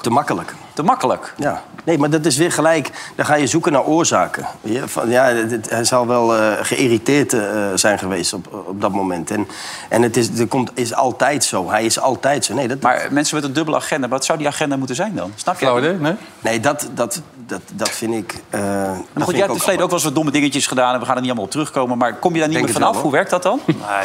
Te makkelijk.
te makkelijk.
Ja, nee, maar dat is weer gelijk. Dan ga je zoeken naar oorzaken. Je, van, ja, dit- hij zal wel eh, geïrriteerd eh, zijn geweest op, op dat moment. En, en het is, er komt, is altijd zo. Hij is altijd zo. Nee, dat,
Maar mensen met een dubbele agenda, wat zou die agenda moeten zijn dan? Snap je?
Flauw idee, nee?
nee, dat, dat, dat, dat vind ik. eh dat
Maar
vind
goed,
ik
jij hebt in
ook
het verleden ook wel eens wat domme dingetjes gedaan... en we gaan er niet allemaal op terugkomen, maar kom je daar niet
Denk
meer
het
vanaf?
wel, hoor.
Hoe werkt dat dan?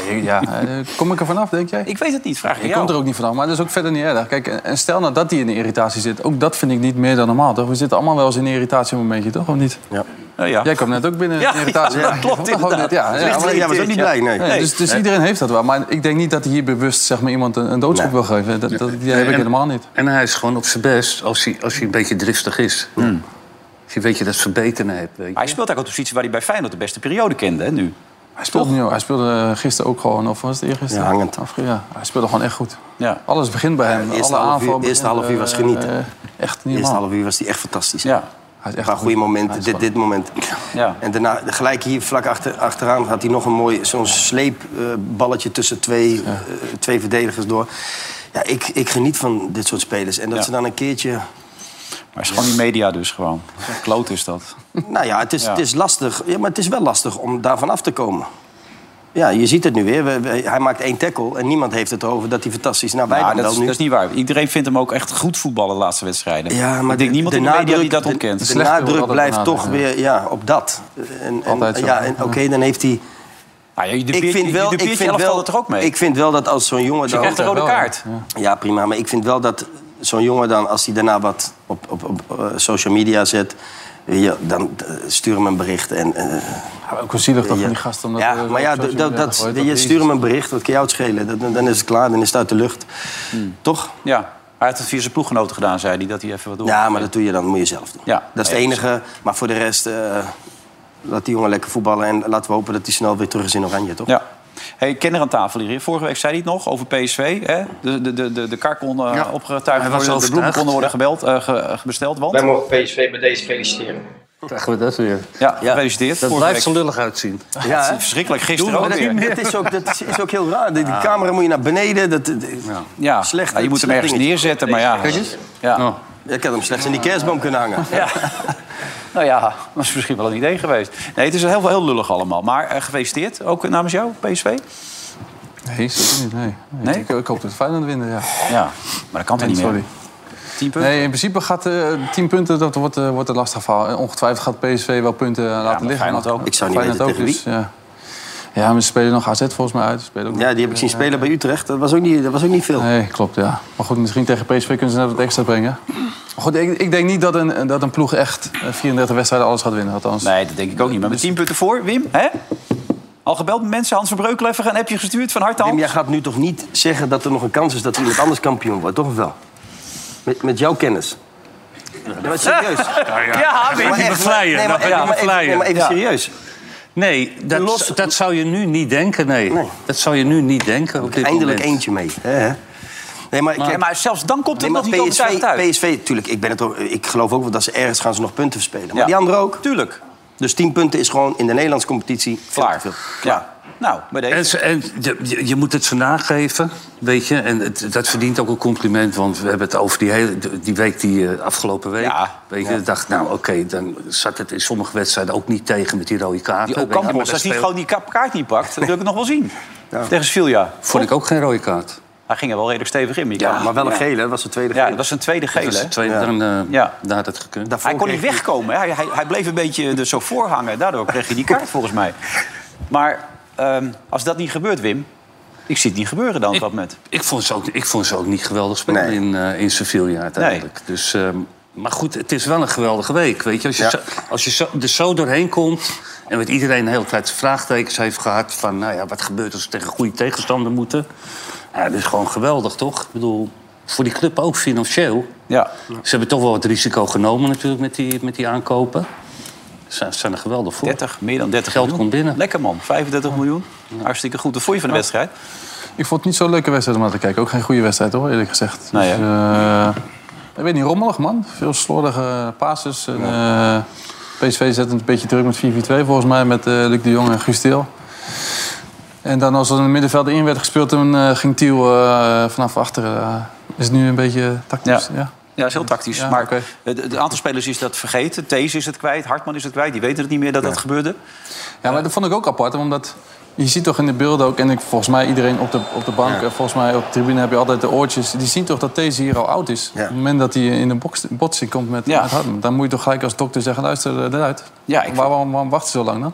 Nee, ja, eh, kom ik er vanaf, denk jij?
Ik weet het niet, vraag ik
Je
jou.
komt er ook niet vanaf, maar dat is ook verder niet erg. Kijk, en stel nou dat die in de irritatie zit. Ook dat vind ik niet meer dan normaal, toch? We zitten allemaal wel eens in een irritatiemomentje, toch? Of niet?
Ja, Oh, ja.
Jij kwam net ook binnen
Ja,
in irritatie.
ja, dat klopt
Of gewoon
inderdaad.
net, Ja, ja,
Licht
maar-
irriteert, Jij was ook niet
ja.
blij, nee.
Nee, dus dus iedereen heeft dat wel. Maar ik denk niet dat hij hier bewust zeg maar, iemand een, een doodschop wil geven. Dat, dat, die heb ik
En-
helemaal niet.
En hij is gewoon op zijn best als hij, als hij een beetje driftig is. Als je weet je dat verbeteren hebt. Weet je.
Maar Hmm. hij speelt eigenlijk op de positie waar hij bij Feyenoord de beste periode kende, hè, nu.
Hij speelde, niet, hoor. hij speelde eh, gisteren ook gewoon, of was het eergisteren?
Ja, hangend.
Of- ja, hij speelde gewoon echt goed.
Ja.
Alles begint bij hem.
de eerste
Alle
half uur-
aanval
de eerste
begint,
half uur was
eh,
genieten.
eh, echt niet
De eerste
normaal.
half uur was hij echt fantastisch.
Ja.
Hij is
Een
echt
paar
goed.
goede
Hij
momenten,
is
dit,
gewoon-
dit moment.
Ja.
En daarna, gelijk hier vlak achter, achteraan, had hij nog een mooi zo'n sleepballetje tussen twee, eh, twee verdedigers door. Ja, ik, ik geniet van dit soort spelers. En dat
Ja.
ze dan een keertje.
Maar het is gewoon die media dus gewoon. Kloot is dat.
Nou ja, het is,
Ja.
Het is lastig. Ja, maar het is wel lastig om daarvan af te komen. Ja, je ziet het nu weer. We- we- hij maakt één tackle en niemand heeft het over dat hij fantastisch. Nou, wij
Ja,
dan
dat,
wel
is,
nu.
dat is niet waar. Iedereen vindt hem ook echt goed voetballen de laatste wedstrijden.
Ja, maar
ik denk
de-
niemand
de
in de media die
nadruk-
dat
de-
ontkent.
De,
Slechter wordt
nadruk
altijd
blijft
benadrukt,
toch
ja.
weer ja, op dat. En, en,
Altijd zo.
ja, en oké, dan heeft hij.
Nou, ja, de
Ik
Beer-
vind
de-
wel,
de
ik
Beertje
vind
elftal
wel
dat er ook mee.
Ik vind wel dat als zo'n jongen
je krijgt een
dan.
rode
wel,
kaart.
Ja, prima. Maar ik vind wel dat zo'n jongen dan, als hij daarna wat op, op, op eh, social media zet. weet je, dan eh, stuur hem een bericht. En,
ook wel zielig toch
van
van die gasten, omdat
ja,
er
maar
op
ja,
social
dat, dat,
media
dat-
gegooid
je
wordt.
stuurt hem een bericht, wat kan jou het schelen? Dan, dan is het klaar, dan is het uit de lucht.
Hmm.
Toch?
Ja, hij heeft het via zijn ploeggenoten gedaan, zei hij, dat hij even wat door.
Ja, maar dat doe je dan, moet je zelf doen.
Ja.
Dat is het
Nee,
enige. Maar voor de rest, eh, laat die jongen lekker voetballen. En laten we hopen dat hij snel weer terug is in Oranje, toch?
Ja. Hey, kenner aan tafel hier. Vorige week zei hij het nog over PSV. Hè? De, de, de, de, de kar kon eh,
Ja.
opgetuigd
Hij was
worden, de bloemen
overtuigd.
konden worden gebeld, eh, ge- ge- besteld. Want...
Wij mogen PSV bij deze feliciteren.
Krijgen we dat weer.
Ja, gefeliciteerd.
Dat
Vorige
blijft zo
week.
lullig uitzien.
Ja, het is verschrikkelijk. Gisteren ook
dat,
weer.
dat is ook, dat is- is ook heel raar. Die, die camera moet je naar beneden. Dat, dat-
Ja,
Slecht,
nou, je moet hem
slecht
ergens
dingetje.
neerzetten, maar ja.
Kijk eens.
Ja.
Oh.
Ik had hem slechts in die kerstboom kunnen hangen.
Nou ja, dat is misschien wel een idee geweest. Nee, het is heel, heel lullig allemaal. Maar eh, gefeliciteerd, ook namens jou, PSV.
Nee, zeker niet. Nee. Nee,
Nee?
Ik, ik hoop dat Feyenoord winnen, ja.
Ja, maar dat kan toch niet meer?
Sorry.
10 punten?
Nee, in principe gaat eh 10 punten, dat wordt, eh, wordt een lastig verhaal. En Ongetwijfeld gaat PSV wel punten eh, laten liggen.
Feyenoord
maar-
ook. Ik zou niet
Feyenoord
weten
dus,
tegen
ja. ja, maar ze spelen nog AZ volgens mij uit. Ze Spelen ook
Ja, die heb ik zien spelen bij Utrecht. Dat was ook niet, dat was ook niet veel.
Nee, klopt, ja. Maar goed, misschien tegen PSV kunnen ze net wat extra brengen. Maar goed, ik, ik denk niet dat een, dat een ploeg echt eh, 34 wedstrijden alles gaat winnen, althans.
Nee, dat denk ik ook niet. Maar met 10 punten voor, Wim, hè? Al gebeld met mensen, Hans van Breukel even een appje gestuurd van harte
Wim,
hand.
jij gaat nu toch niet zeggen dat er nog een kans is dat iemand anders kampioen wordt, toch of wel? Met, met jouw kennis. Ja, maar serieus.
ja.
Ja,
Dan ben je
Maar
niet
echt,
bevleien.
nee,
Dan
maar
ben
echt,
je
maar even-
bevleien.
nee, maar even
Ja.
serieus.
Nee, dat,
Los-
dat zou je nu niet denken, nee. Dat zou je nu niet denken op dit
Eindelijk
moment.
eentje mee. hè, hè? Nee, maar, ik-
Nee, maar zelfs dan komt het
Nee, maar
nog niet overtuigend uit.
PSV, tuurlijk, ik, ben het ook, ik geloof ook wel dat ze ergens gaan ze nog punten verspelen. Maar die anderen ook.
Tuurlijk.
Dus 10 punten is gewoon in de Nederlandse competitie klaar.
Ja. Nou, bij deze.
En, ze- en je- je, je moet het ze nageven, weet je. En het- dat verdient ook een compliment, want we hebben het over die, hele, die week, die eh, afgelopen week. weet je, ik dacht, nou oké, dan zat het in sommige wedstrijden ook niet tegen met die rode kaarten.
Die
weet je, maar
Ocampos,
dat
als hij
speelt-
gewoon die ka- kaart niet pakt, dat wil ik nog wel zien. Tegen Sevilla.
Vond ik ook geen rode kaart.
Hij ging er wel redelijk stevig in. die
Ja,
kaart.
maar wel een gele,
dat was de tweede
Ja, dat was een tweede gele.
Dat is
hè?
het tweede,
Ja.
dan, eh,
Ja.
daar had het gekund.
Hij kon niet wegkomen. hè. Hij, hij, hij bleef een beetje er zo voor hangen. Daardoor kreeg je die kaart volgens mij. Maar ehm, als dat niet gebeurt, Wim... Ik zie het niet gebeuren dan op dat moment.
Ik vond ze ook, ik vond ze ook niet geweldig spelen
Nee.
in, eh, in Sevilla uiteindelijk. Dus, ehm, maar goed, het is wel een geweldige week. Weet je? Als je, zo, als je zo, er zo doorheen komt en met iedereen de hele tijd vraagtekens heeft gehad... van nou ja, wat gebeurt als ze tegen goede tegenstander moeten? Ja, dat is gewoon geweldig, toch? Ik bedoel, voor die club ook financieel.
Ja.
Ze hebben toch wel het risico genomen natuurlijk met die, met die aankopen. Ze ze zijn er geweldig voor.
30, meer dan 30
Geld
miljoen.
komt binnen.
Lekker man, 35 miljoen. Hartstikke goed. Wat vond je van de wedstrijd?
Ik vond het niet zo'n leuke wedstrijd om naar te kijken. Ook geen goede wedstrijd hoor, eerlijk gezegd.
Nee,
Dus, eh, ik weet niet, rommelig man. Veel slordige passes. En, eh, PSV zet een beetje druk met 4-4-2 volgens mij. Met eh, Luc de Jong en Guus Til. En dan als er in het middenveld in werd gespeeld... dan eh, ging Tiel eh, vanaf achteren. Eh, is het nu een beetje tactisch. Ja.
Ja, dat is heel tactisch. maar het aantal spelers is dat vergeten. Thees is het kwijt, Hartman is het kwijt. Die weten het niet meer dat dat gebeurde.
Ja, maar dat vond ik ook apart, omdat je ziet toch in de beelden ook... en ik, volgens mij iedereen op de, op de bank, en volgens mij op de tribune heb je altijd de oortjes... die zien toch dat deze hier al oud is. Op het moment dat hij in de box- botsing komt met,
Ja.
met Hartman... dan moet je toch gelijk als dokter zeggen, luister eh, eruit. Ja, ik... waarom, waarom wachten ze zo lang dan?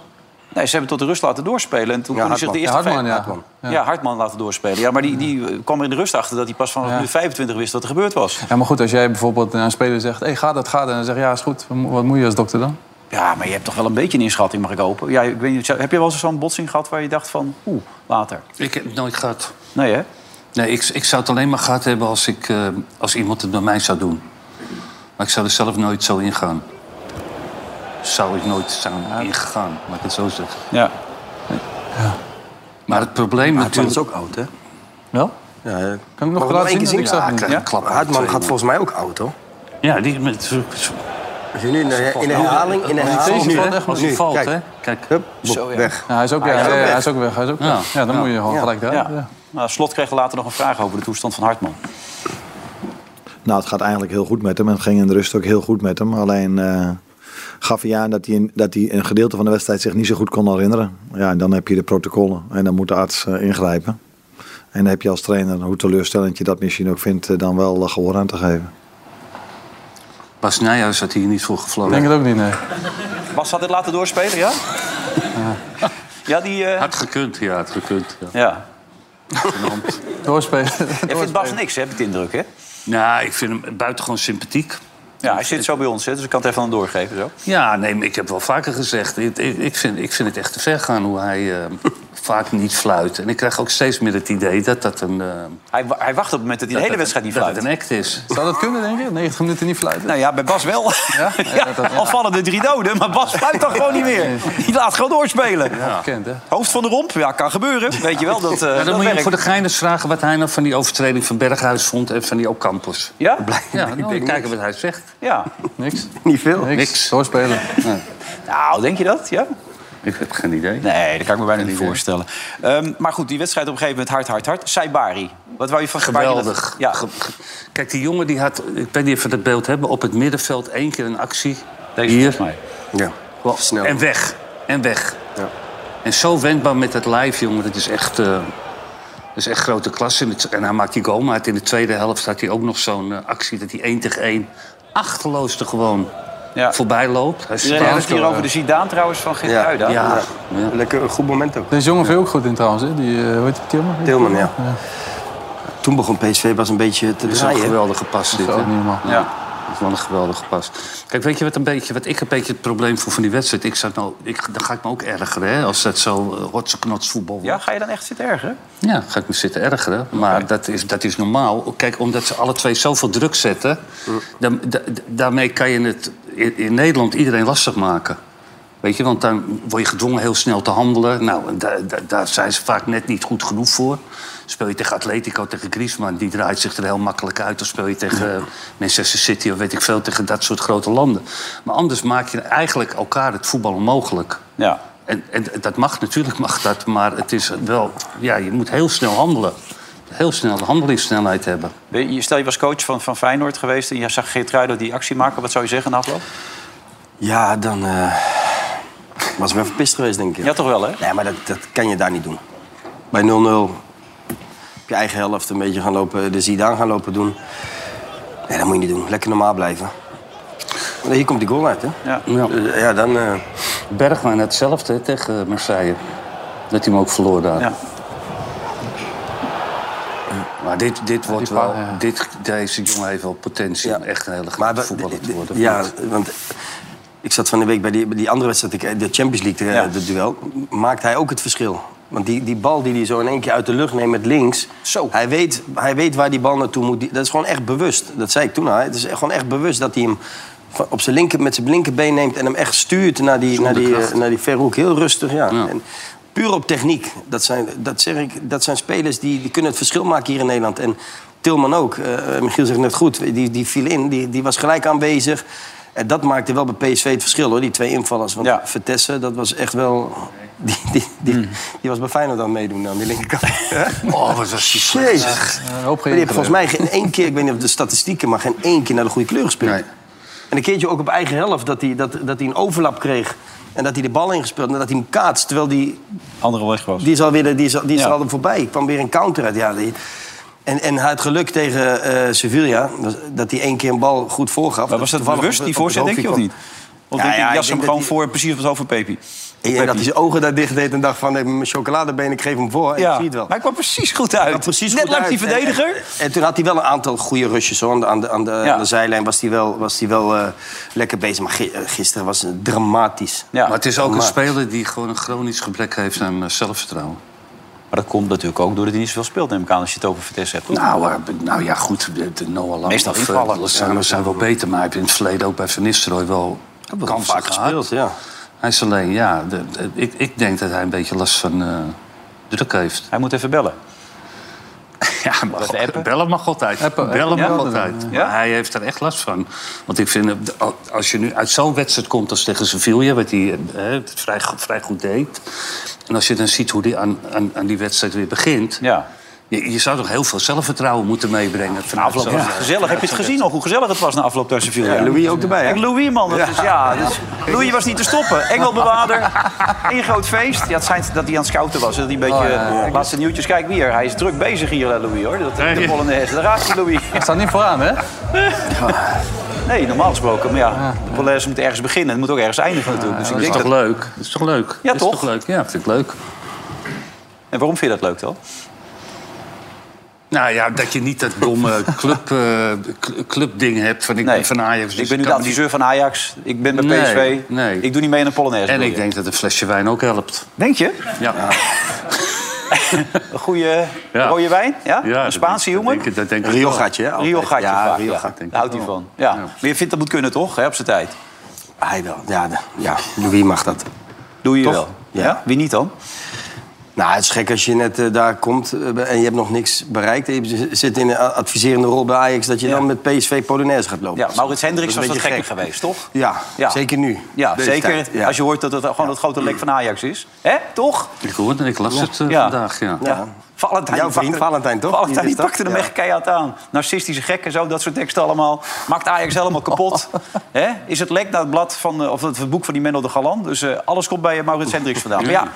Nee, ze hebben tot de rust laten doorspelen. En toen
Ja,
kon hij zich de
Hartman.
eerste
Ja, Hartman,
vijf-
ja.
Ja. Hartman laten doorspelen. Ja, maar die, die eh, kwam er in de rust achter dat hij pas vanaf nu 25 wist wat er gebeurd was.
Ja, maar goed, als jij bijvoorbeeld aan een speler zegt... hey, gaat dat, gaat dat? En dan zeg je, ja, is goed. Wat mo- Wat moet je als dokter dan?
Ja, maar je hebt toch wel een beetje een inschatting, mag ik hopen. Ja, ik weet niet, heb je wel eens zo'n botsing gehad waar je dacht van, oeh, later.
Ik heb het nooit gehad.
Nee, hè?
Nee, ik, ik zou het alleen maar gehad hebben als, ik, eh, als iemand het bij mij zou doen. Maar ik zou er zelf nooit zo ingaan. Zou ik nooit zijn ingegaan, laat ik het zo zeggen.
Ja.
Maar het probleem
Hartman
natuurlijk...
is ook oud, hè?
Wel?
Ja, kan ik
hem
nog laten zien? Ik zag
Ja,
hem
ik
niet.
krijg een
Ja?
klap.
Twee,
Hartman
man.
gaat volgens mij ook oud, hoor.
Ja, die... Met,
Als je nu in de, in de herhaling... In de
Als hij
herhaling
valt,
nu,
hè? Als
nu,
hij valt,
kijk.
hè? Kijk.
Bob, weg.
Ja, hij is ook,
Ah,
ja,
hij is ook
ja,
weg.
hij is ook weg. Hij is ook
Ja.
weg. Ja, dan
Ja.
moet je gewoon
Ja.
gelijk eruit.
Ja.
ja.
Nou, Slot kreeg later nog een vraag over de toestand van Hartman.
Nou, het gaat eigenlijk heel goed met hem. En het ging in de rust ook heel goed met hem. Alleen eh, gaf hij aan dat hij, een- dat hij een gedeelte van de wedstrijd zich niet zo goed kon herinneren. Ja, en dan heb je de protocollen. En dan moet de arts eh, ingrijpen. En dan heb je als trainer, hoe teleurstellend je dat misschien ook vindt, eh, dan wel eh, gehoor aan te geven.
Bas Nijhuis had hier niet voor gevlogen.
Ik denk het ook niet, nee.
Bas had dit laten doorspelen, ja? Ja, die... eh,
Had gekund, ja, had gekund. Ja.
Ja.
Doorspelen.
Jij vindt Bas niks, hè, heb ik de indruk, hè?
Nou, ik vind hem buitengewoon sympathiek.
Ja, hij zit zo bij ons, hè, dus ik kan het even aan hem doorgeven. Zo.
Ja, nee, maar ik heb wel vaker gezegd. Ik, ik, ik vind, ik vind het echt te ver gaan hoe hij eh, vaak niet fluit. En ik krijg ook steeds meer het idee dat dat een. eh,
hij, wacht op het moment dat hij de hele wedstrijd niet
Dat het een act is.
Zou dat kunnen, denk je? 90 minuten niet fluiten?
Nou ja, bij Bas wel. Ja? Al vallen de drie doden, maar Bas fluit dan gewoon niet meer. Die laat gewoon doorspelen.
Kent, hè?
Hoofd van de romp, ja, kan gebeuren. Weet je wel, dat, eh
Ja,
dat
dan moet je hem
werkt.
voor de gein eens vragen wat hij nou van die overtreding van Berghuis vond en van die Ocampos.
Ja?
Ja, nou, we kijken wat hij zegt.
Ja.
Niks.
Niet veel.
Niks.
Doorspelen.
Nou, denk je dat? Ja?
Ik heb geen idee.
Nee, dat kan ik me bijna niet voorstellen. Ehm, maar goed, die wedstrijd op een gegeven moment hard, hard, hard. Saibari, wat wou je van Saibari?
Geweldig.
Ja.
Kijk, die jongen die had, ik weet niet of we dat beeld hebben, op het middenveld één keer een actie.
Deze
Hier.
volgens mij.
Ja. Snel.
En weg. En weg. En zo wendbaar met dat lijf, jongen. Dat is echt, eh, dat is echt grote klasse. En het- En hij maakt die goal. Maar het- in de tweede helft had hij ook nog zo'n eh, actie... dat hij 1 tegen 1 achterloos er gewoon voorbij loopt. Hij
Iedereen heeft het hier over de Zidane trouwens van Geertruida.
Ja. Ja.
Lekker een goed moment ook.
Deze jongen viel ook goed in trouwens, hè? Die, eh hoe heet die, Tilman?
Tilman, ja. Toen begon PSV pas een beetje te
Dat is wel een
draaien.
geweldige pas, dit.
is
hè?
ook niet normaal.
Ja. Dat is wel een geweldige pas. Kijk, weet je wat, een beetje, wat ik een beetje het probleem voor van die wedstrijd... Ik zou nou, ik, dan ga ik me ook ergeren, hè, als dat zo uh, hotseknots voetbal wordt.
Ja, ga je dan echt zitten ergeren?
Ja, ga ik me zitten ergeren. Maar dat, is, dat is normaal. Kijk, omdat ze alle twee zoveel druk zetten... dan- da- da- daarmee kan je het in, in Nederland iedereen lastig maken. Weet je, want dan word je gedwongen heel snel te handelen. Nou, en da- da- daar zijn ze vaak net niet goed genoeg voor. Speel je tegen Atletico, tegen Griezmann... die draait zich er heel makkelijk uit. Of speel je tegen eh, Manchester City of weet ik veel... tegen dat soort grote landen. Maar anders maak je eigenlijk elkaar het voetbal onmogelijk.
Ja.
En, en dat mag, natuurlijk mag dat, maar het is wel, ja, je moet heel snel handelen. Heel snel de handelingssnelheid hebben.
Ben je- Stel, je was coach van, van Feyenoord geweest en je zag Geertruida die actie maken. Wat zou je zeggen na afloop?
Ja, dan eh, was ik wel verpist geweest, denk ik.
Ja, toch wel, hè?
Nee, maar dat, dat kan je daar niet doen. Bij 0-0 op je eigen helft een beetje gaan lopen, de Zidane gaan lopen doen. Nee, dat moet je niet doen. Lekker normaal blijven. Maar hier komt die goal uit, hè?
Ja.
Ja.
Eh, ja, dan... eh,
Bergwijn hetzelfde hè, tegen Marseille. Dat hij hem ook verloor daar.
Ja.
Maar dit, dit wordt wel, dit, deze jongen heeft wel potentie om echt een hele grote voetballer te worden.
Ja, want ik zat van de week bij die, bij die andere wedstrijd, ik- de Champions League, de, de duel. Maakt hij ook het verschil? Want die, die bal die hij zo in één keer uit de lucht neemt met links. Hij, weet, hij weet waar die bal naartoe moet. Die- Dat is gewoon echt bewust. Dat zei ik toen al. hè. Het is echt- gewoon echt bewust dat hij hem van- op zijn linker, met zijn linkerbeen neemt en hem echt stuurt naar die, naar die, eh, naar die verhoek. Heel rustig, ja. En puur op techniek. Dat zijn, dat zeg ik, dat zijn spelers die, die kunnen het verschil maken hier in Nederland. En Tilman ook. Eh, Michiel zegt net goed. Die, die viel in. Die, die was gelijk aanwezig. En dat maakte wel bij PSV het verschil, hoor. Die twee invallers. Want Vitesse, dat was echt wel... Die, die, die, die was bij Feyenoord aan het meedoen aan die linkerkant.
Oh, wat was die slecht.
Jezus.
Ja, een
Maar
hoop
die heeft
geïnteresseerd.
volgens mij geen één keer... Ik weet niet of de statistieken... maar geen één keer naar de goede kleur gespeeld. En een keertje ook op eigen helft dat hij, dat, dat hij een overlap kreeg. En dat hij de bal ingespeeld en dat hij hem kaatst. Terwijl die...
Andere weg was.
Die is alweer die is, die is er al voorbij. Ik kwam weer een counter uit. Ja, die- en, en hij had geluk tegen eh, Sevilla. was- Dat hij één keer een bal goed voorgaf.
Maar was dat
toevallig
bewust,
op-
die
op het
voorzet, denk je of
hoofdje
niet? Of
kwam. Ja,
denk je,
ja,
die
ik
jas hem
denk
gewoon
dat
voor, precies op het hoofd van Pepi?
Ik denk dat hij zijn ogen daar dicht deed en dacht van... nee, mijn chocoladebeen, ik geef hem voor. en
Ja,
Ik zie het wel.
maar hij kwam precies goed uit. Eh, Net langs
goed
die
uit. En-
verdediger.
En, en toen had hij wel een aantal goede rushes. Hoor. Aan de, aan de, aan de, aan de zijlijn was hij wel, was hij wel eh, lekker bezig. Maar gi- eh, gisteren was het dramatisch.
Maar het is ook een
Dramatisch.
speler die gewoon een chronisch gebrek heeft aan eh, zelfvertrouwen.
Maar dat komt natuurlijk ook doordat hij niet zoveel speelt, neem ik aan, als je het over Vitesse hebt.
Nou, eh, nou ja, goed, de, de Noah Lang
Meestal
of, eh,
invallen.
Lozano
Ja,
zijn wel beter, maar hij heeft in het verleden ook bij Van Nistelrooy wel
wel
kansen
vaak
gehad.
gespeeld, ja.
Hij is alleen, ja, de- de- ik, ik denk dat hij een beetje last van eh, druk heeft.
Hij moet even bellen.
Ja, hij mag ook- bellen mag altijd. Bellen
ja.
mag altijd. Maar hij heeft er echt last van. Want ik vind, eh, als je nu uit zo'n wedstrijd komt als tegen Sevilla... wat hij eh, het vrij, go- vrij goed deed... en als je dan ziet hoe hij aan, aan, aan die wedstrijd weer begint...
Ja.
Je, je zou toch heel veel zelfvertrouwen moeten meebrengen.
Na afloop was het gezellig. Heb je het gezien nog, hoe gezellig het was na afloop tussen Sevilla?
Ja, Louis ook erbij, hè?
En Louis, man. Dat is, ja, dat is- Louis was niet te stoppen. Engelbewaarder. Eén groot feest. Ja, het schijnt dat hij aan het scouten was. hè, Dat hij een beetje... eh, Laatste nieuwtjes. Kijk wie er. Hij is druk bezig hier, hè, Louis, hoor. Dat, de Polonaise. Daar raakt hij, Louis.
Hij staat niet vooraan, hè?
Nee, normaal gesproken. Maar ja, de Polonaise moet ergens beginnen. Het moet ook ergens eindigen, natuurlijk. Dus ik
dat is
denk
toch
dat...
leuk? Dat is toch leuk?
Ja,
Dat is
toch?
leuk? Ja, vind ik leuk.
En waarom vind je dat leuk, dan?
Nou ja, dat je niet dat domme club, eh, cl- clubding hebt van, ik ben van Ajax.
Ik ben nu de adviseur van Ajax. Ik ben bij PSV.
Ik
doe niet mee in een Polonaise.
En ik denk dat een flesje wijn ook helpt.
Denk je?
Ja.
Een goede
Ja.
rode wijn? Ja?
Ja,
een Spaanse jongen?
ik- dat denk ik Riogatje, hè, altijd.
Riogatje
Ja,
vaak,
Riogatje,
ja. Daar houdt hij van. Ja. Maar je vindt dat moet kunnen, toch? Hè, op zijn tijd.
Hij wel. Ja, de- ja, Louis mag dat.
Doe je
Toch?
wel. Ja. Wie niet dan?
Nou, het is gek als je net eh, daar komt eh, en je hebt nog niks bereikt. En je zit in een a- adviserende rol bij Ajax... dat je dan met PSV Polonaise gaat lopen.
Ja, Maurits Hendricks
Dat
was
is een
dat
beetje
gekker geweest, toch?
Ja,
Ja.
zeker nu.
Ja,
Deze
zeker.
tijd, ja.
Als je hoort dat het gewoon het grote lek van Ajax is. Hè? Toch?
Ik hoor het en ik las het eh, vandaag. Ja.
Valentijn
Jouw vriend
pakte-
Valentijn, toch?
Valentijn
Die
die
is dat?
pakte hem
Ja.
echt keihard aan. Narcistische gek en zo, dat soort teksten allemaal. Maakt Ajax helemaal kapot. Hè? Is het lek naar het blad van, eh, of het boek van die Menno de Galan. Dus eh, alles komt bij eh, Maurits Hendricks vandaan. Maar ja,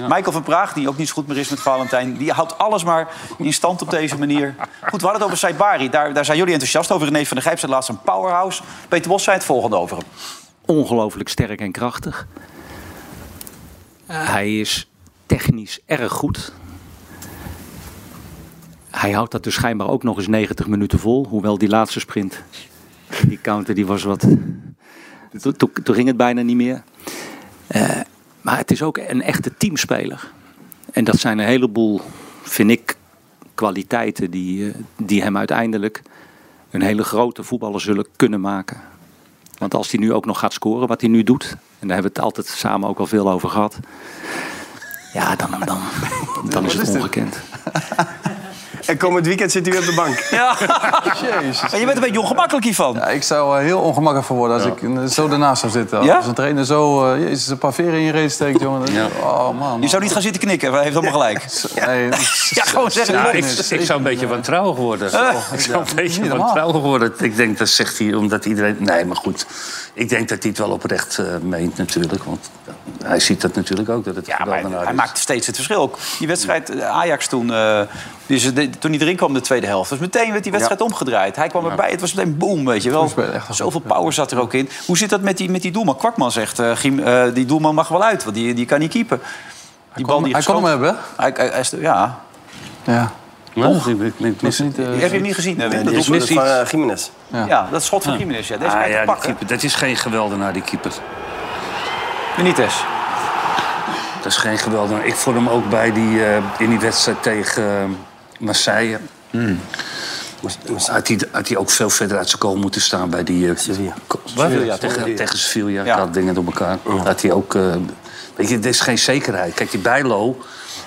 Michael van Praag, die ook niet zo goed meer is met Valentijn... die houdt alles maar in stand op deze manier. Goed, we hadden het over Saibari. Daar, daar zijn jullie enthousiast over. René van der Gijp zei laatst een powerhouse. Peter Bos zei het volgende over hem.
ongelooflijk sterk en krachtig. Hij is technisch erg goed. Hij houdt dat dus schijnbaar ook nog eens 90 minuten vol. Hoewel die laatste sprint, die counter, die was wat... Toen, toen- toen ging het bijna niet meer. Eh, maar het is ook een echte teamspeler. En dat zijn een heleboel, vind ik, kwaliteiten die, eh, die hem uiteindelijk een hele grote voetballer zullen kunnen maken. Want als hij nu ook nog gaat scoren, wat hij nu doet, en daar hebben we het altijd samen ook al veel over gehad. Ja, dan, dan, dan is het ongekend.
En komend weekend zit hij weer op de bank. Eh,
Ja. Maar je bent een beetje ongemakkelijk hiervan.
Ja, ik zou eh, heel ongemakkelijk van worden als ik eh, zo daarnaast zou zitten.
Ja?
Als een trainer zo eh, jezus, een paar veren in je reet steekt, jongen. dan- Oh man, man.
Je zou niet gaan zitten knikken, hij heeft allemaal gelijk.
Nee,
Ja, gewoon zeggen.
Ja, ik,
niks.
ik zou een beetje wantrouwig worden.
Eh?
Ik zou een beetje
normaal.
wantrouwig worden. Ik denk dat zegt hij omdat iedereen. Nee, maar goed. Ik denk dat hij het wel oprecht eh, meent, natuurlijk. Want hij ziet dat natuurlijk ook. Dat het ja,
Hij maakte steeds het verschil. Ook die wedstrijd eh, Ajax toen, eh, dus de- toen hij erin kwam de tweede helft. Dus meteen werd die wedstrijd omgedraaid. Hij kwam erbij, het was meteen boom, weet je wel. Zoveel power zat er ook in. Hoe zit dat met die, met die doelman? Kwakman zegt, eh, Giem, eh, die doelman mag wel uit, want die, die kan niet keepen. Die bal die
hij kon hem
geschoten-
hebben.
Hij, hij- hij is- ja.
Ja. eh,
Och.
ik mis niet.
Die heb je hem niet gezien, hè?
Nee,
Wim?
die
Dat
is
doelpunt
van,
van-
eh, Gimenez.
Ja. dat schot van Gimenez. Ja. Deze
Ah,
kan je toch
ja, die
pakken.
keeper, dat is geen geweldenaar, die keeper.
Benitez.
Dat is geen geweldenaar. Ik vond hem ook bij die, eh, in die wedstrijd tegen eh, Marseille. Hmm. Had hij, had hij ook veel verder uit zijn goal moeten staan bij die... eh, ko- wat?
Sevilla,
tegen,
toch?
tegen Sevilla, ja. dat dingen door elkaar. Had hij ook... eh, weet je, er is geen zekerheid. Kijk, die Bijlo,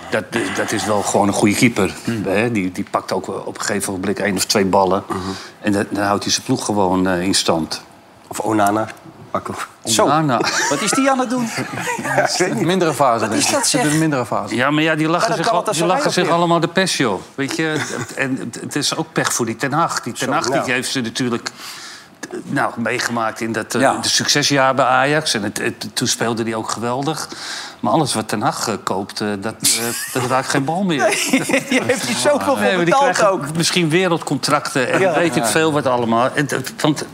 dat, dat is wel gewoon een goede keeper. Hè? Die, die pakt ook op een gegeven moment één of twee ballen. En dat- dan houdt hij zijn ploeg gewoon eh, in stand. Nou,
Of Onana. Pakken.
Zo.
Onana.
Wat is die aan het doen?
Mindere fase.
Wat is dat, zeg?
Een mindere fase.
Ja, maar ja, die
Maar
lachen
dat
zich,
kan
al-
altijd
die
zo
lachen
weinig
zich
weer.
allemaal de pes, joh. Weet je, en het- het is ook pech voor die Ten Hag. Die Ten Hag die
ja.
heeft ze natuurlijk eh, nou, meegemaakt in dat eh,
Ja.
de succesjaar bij Ajax. En het, het- toen speelde hij ook geweldig. Maar alles wat Ten Hag eh, koopt, eh, dat, eh, dat raakt geen bal meer.
Die heeft hij zoveel
Nee,
voor
maar die
betaald
krijgen
ook.
misschien wereldcontracten en
Ja.
weet ik
Ja.
veel wat allemaal. En, dat- want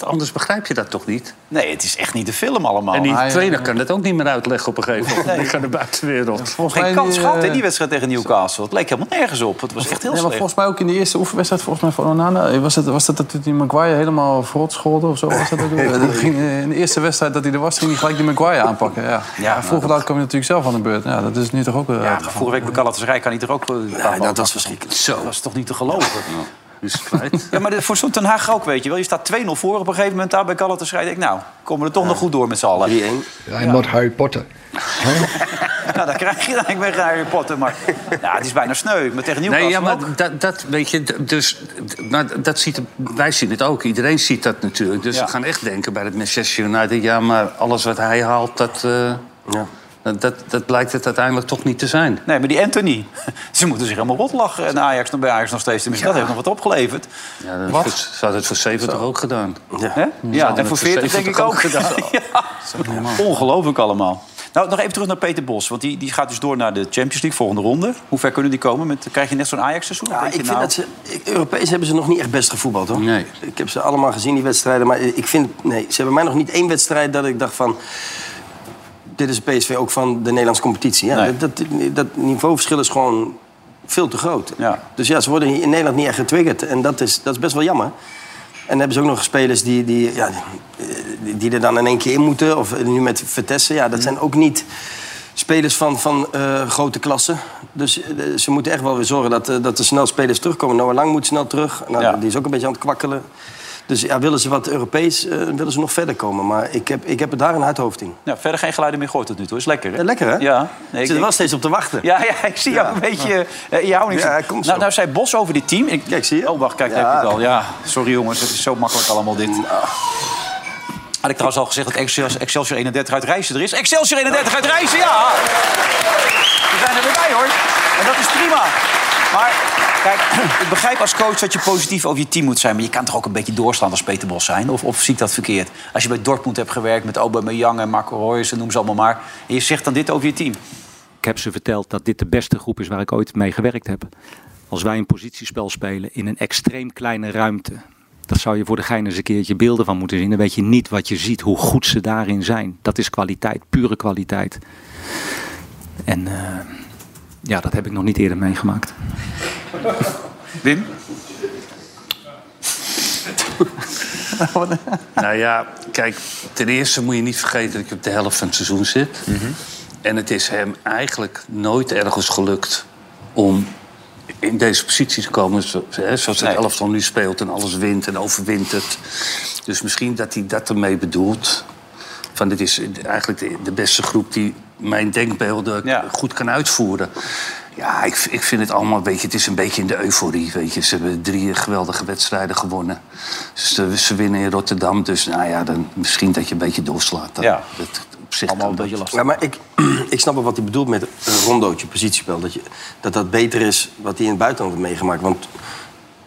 anders begrijp je dat toch niet?
Nee, het is echt niet de film allemaal.
en die
Oh, Hij- eh,
trainer kan dat ook niet meer uitleggen op een gegeven moment.
Nee.
Die gaat de buitenwereld.
Geen
mij
kans
die,
gehad in
eh,
die wedstrijd tegen Newcastle. Het leek helemaal nergens op. Het was echt heel
Nee, maar
slecht.
volgens mij ook in die eerste oefenwedstrijd volgens mij van Onana... eh, was, het, was dat dat die Maguire helemaal verrot scholde of zo? Was dat ook? Dat ging, eh, in de eerste wedstrijd dat hij er was, ging hij gelijk die Maguire aanpakken. Ja.
Ja, nou,
Ja, vroeg of laat kwam hij natuurlijk zelf aan de beurt. Ja, dat is nu toch ook... eh,
Ja, maar vorige week bij Galatasaray kan hij er ook... Ja, dat was
verschrikkelijk.
Zo.
Dat was toch niet te geloven?
Dus kwijt.
Ja, maar dit- voor zo'n Ten Haag ook, weet je wel. Je staat 2-0 voor op een gegeven moment daar bij Galatasaray. Ik denk, nou, komen we er toch nog goed door met z'n allen.
I'm not Harry Potter.
Nou, daar krijg je dan. Ik ben geen Harry Potter, maar... Nou, het is bijna sneu. Maar tegen Newcastle
Nee, ja, maar
ook.
dat, dat weet je, d- dus, d- maar dat ziet, wij zien het ook. Iedereen ziet dat natuurlijk. Dus
Ja.
we gaan echt denken bij het Manchester United. Ja, maar alles wat hij haalt, dat, eh, dat, dat, dat blijkt het uiteindelijk toch niet te zijn.
Nee, maar die Anthony. Ze moeten zich helemaal rot lachen. En Ajax, nog bij Ajax nog steeds. Tenminste, dat heeft nog wat opgeleverd.
Ja, dat
Wat?
Voor, ze hadden het voor 70 ook gedaan.
Hè? Ja,
hadden
en voor
het
40 denk ik
70
ook.
ook gedaan.
Ja. Ongelooflijk allemaal. Nou, nog even terug naar Peter Bos. Want die, die gaat dus door naar de Champions League, volgende ronde. Hoe ver kunnen die komen? Met, krijg je net zo'n Ajax-seizoen?
Ja, ik
Denk je
vind
nou-
dat ze, ik- Europees hebben ze nog niet echt best gevoetbald, hoor.
Nee.
Ik heb ze allemaal gezien, die wedstrijden. Maar ik vind, nee, ze hebben mij nog niet één wedstrijd dat ik dacht van... Dit is PSV ook van de Nederlandse competitie. Ja,
Nee.
dat, dat, dat niveauverschil is gewoon veel te groot. Dus ja, ze worden hier in Nederland niet echt getriggerd. En dat is, dat is best wel jammer. En dan hebben ze ook nog spelers die, die, ja, die, die er dan in één keer in moeten. Of nu met Vitesse. Ja, dat zijn ook niet spelers van, van eh, grote klassen. Dus eh, ze moeten echt wel weer zorgen dat, eh, dat er snel spelers terugkomen. Noah Lang moet snel terug. Nou, Die is ook een beetje aan het kwakkelen. Dus ja, willen ze wat Europees, eh, willen ze nog verder komen. Maar ik heb, ik heb het daar een hard hoofd in.
Ja, Nou, verder geen geluiden meer gehoord tot nu toe. Is lekker, hè?
Ja, lekker, hè?
Ja.
ik zit er wel steeds op te wachten.
Ja, ja ik zie jou een beetje eh, in je houding.
Ja,
zitten.
komt zo.
nou, nou zei Bos over dit team. Ik, kijk, zie je? Oh, wacht, kijk, daar
Ja.
heb je het al. Ja, sorry jongens, het is zo makkelijk allemaal dit. Had ik trouwens al gezegd dat Excelsior, Excelsior 31 uit Rijssen er is. Excelsior 31 uit Rijssen, ja! We zijn er weer bij, hoor. En dat is prima. Maar kijk, ik begrijp als coach dat je positief over je team moet zijn. Maar je kan toch ook een beetje doorslaan als Peter Bos zijn? Of, of zie ik dat verkeerd? Als je bij Dortmund hebt gewerkt met Aubameyang en Marco Reus en noem ze allemaal maar. En je zegt dan dit over je team.
Ik heb ze verteld dat dit de beste groep is waar ik ooit mee gewerkt heb. Als wij een positiespel spelen in een extreem kleine ruimte. Daar zou je voor de gein eens een keertje beelden van moeten zien. Dan weet je niet wat je ziet, hoe goed ze daarin zijn. Dat is kwaliteit, pure kwaliteit. En eh, ja, dat heb ik nog niet eerder meegemaakt.
Wim?
nou ja, kijk, ten eerste moet je niet vergeten dat je op de helft van het seizoen zit. En het is hem eigenlijk nooit ergens gelukt om in deze positie te komen. Zo, hè, zoals het elftal nu speelt en alles wint en overwintert. Dus misschien dat hij dat ermee bedoelt. Van dit is eigenlijk de, de beste groep die mijn denkbeelden goed kan uitvoeren. Ja, ik, ik vind het allemaal een beetje... Het is een beetje in de euforie, weet je. Ze hebben drie geweldige wedstrijden gewonnen. Ze, ze winnen in Rotterdam, dus nou ja, dan misschien dat je een beetje doorslaat. Dat, ja. op zich allemaal een beetje
Ja, maar ik, ik snap wel wat hij bedoelt met een rondootje, positiespel. Dat, je, dat dat beter is wat hij in het buitenland heeft meegemaakt. Want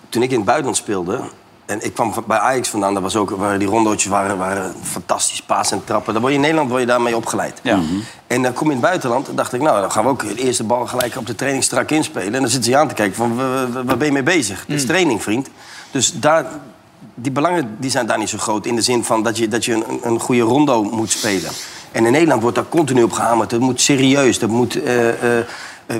toen ik in het buitenland speelde... en ik kwam van- bij Ajax vandaan, dat was ook, waren die rondootjes waren, waren fantastisch. Paas en trappen. Dan word je in Nederland word je daarmee opgeleid. Mhm. En dan kom je in het buitenland, dan dacht ik... nou, dan gaan we ook de eerste bal gelijk op de training strak inspelen. En dan zitten ze je aan te kijken van, wa- wa- waar ben je mee bezig? Het is training, vriend. Dus daar, die belangen die zijn daar niet zo groot. In de zin van dat je, dat je een, een- een goede rondo moet spelen. En in Nederland wordt daar continu op gehamerd. Dat moet serieus, dat moet eh, eh, eh,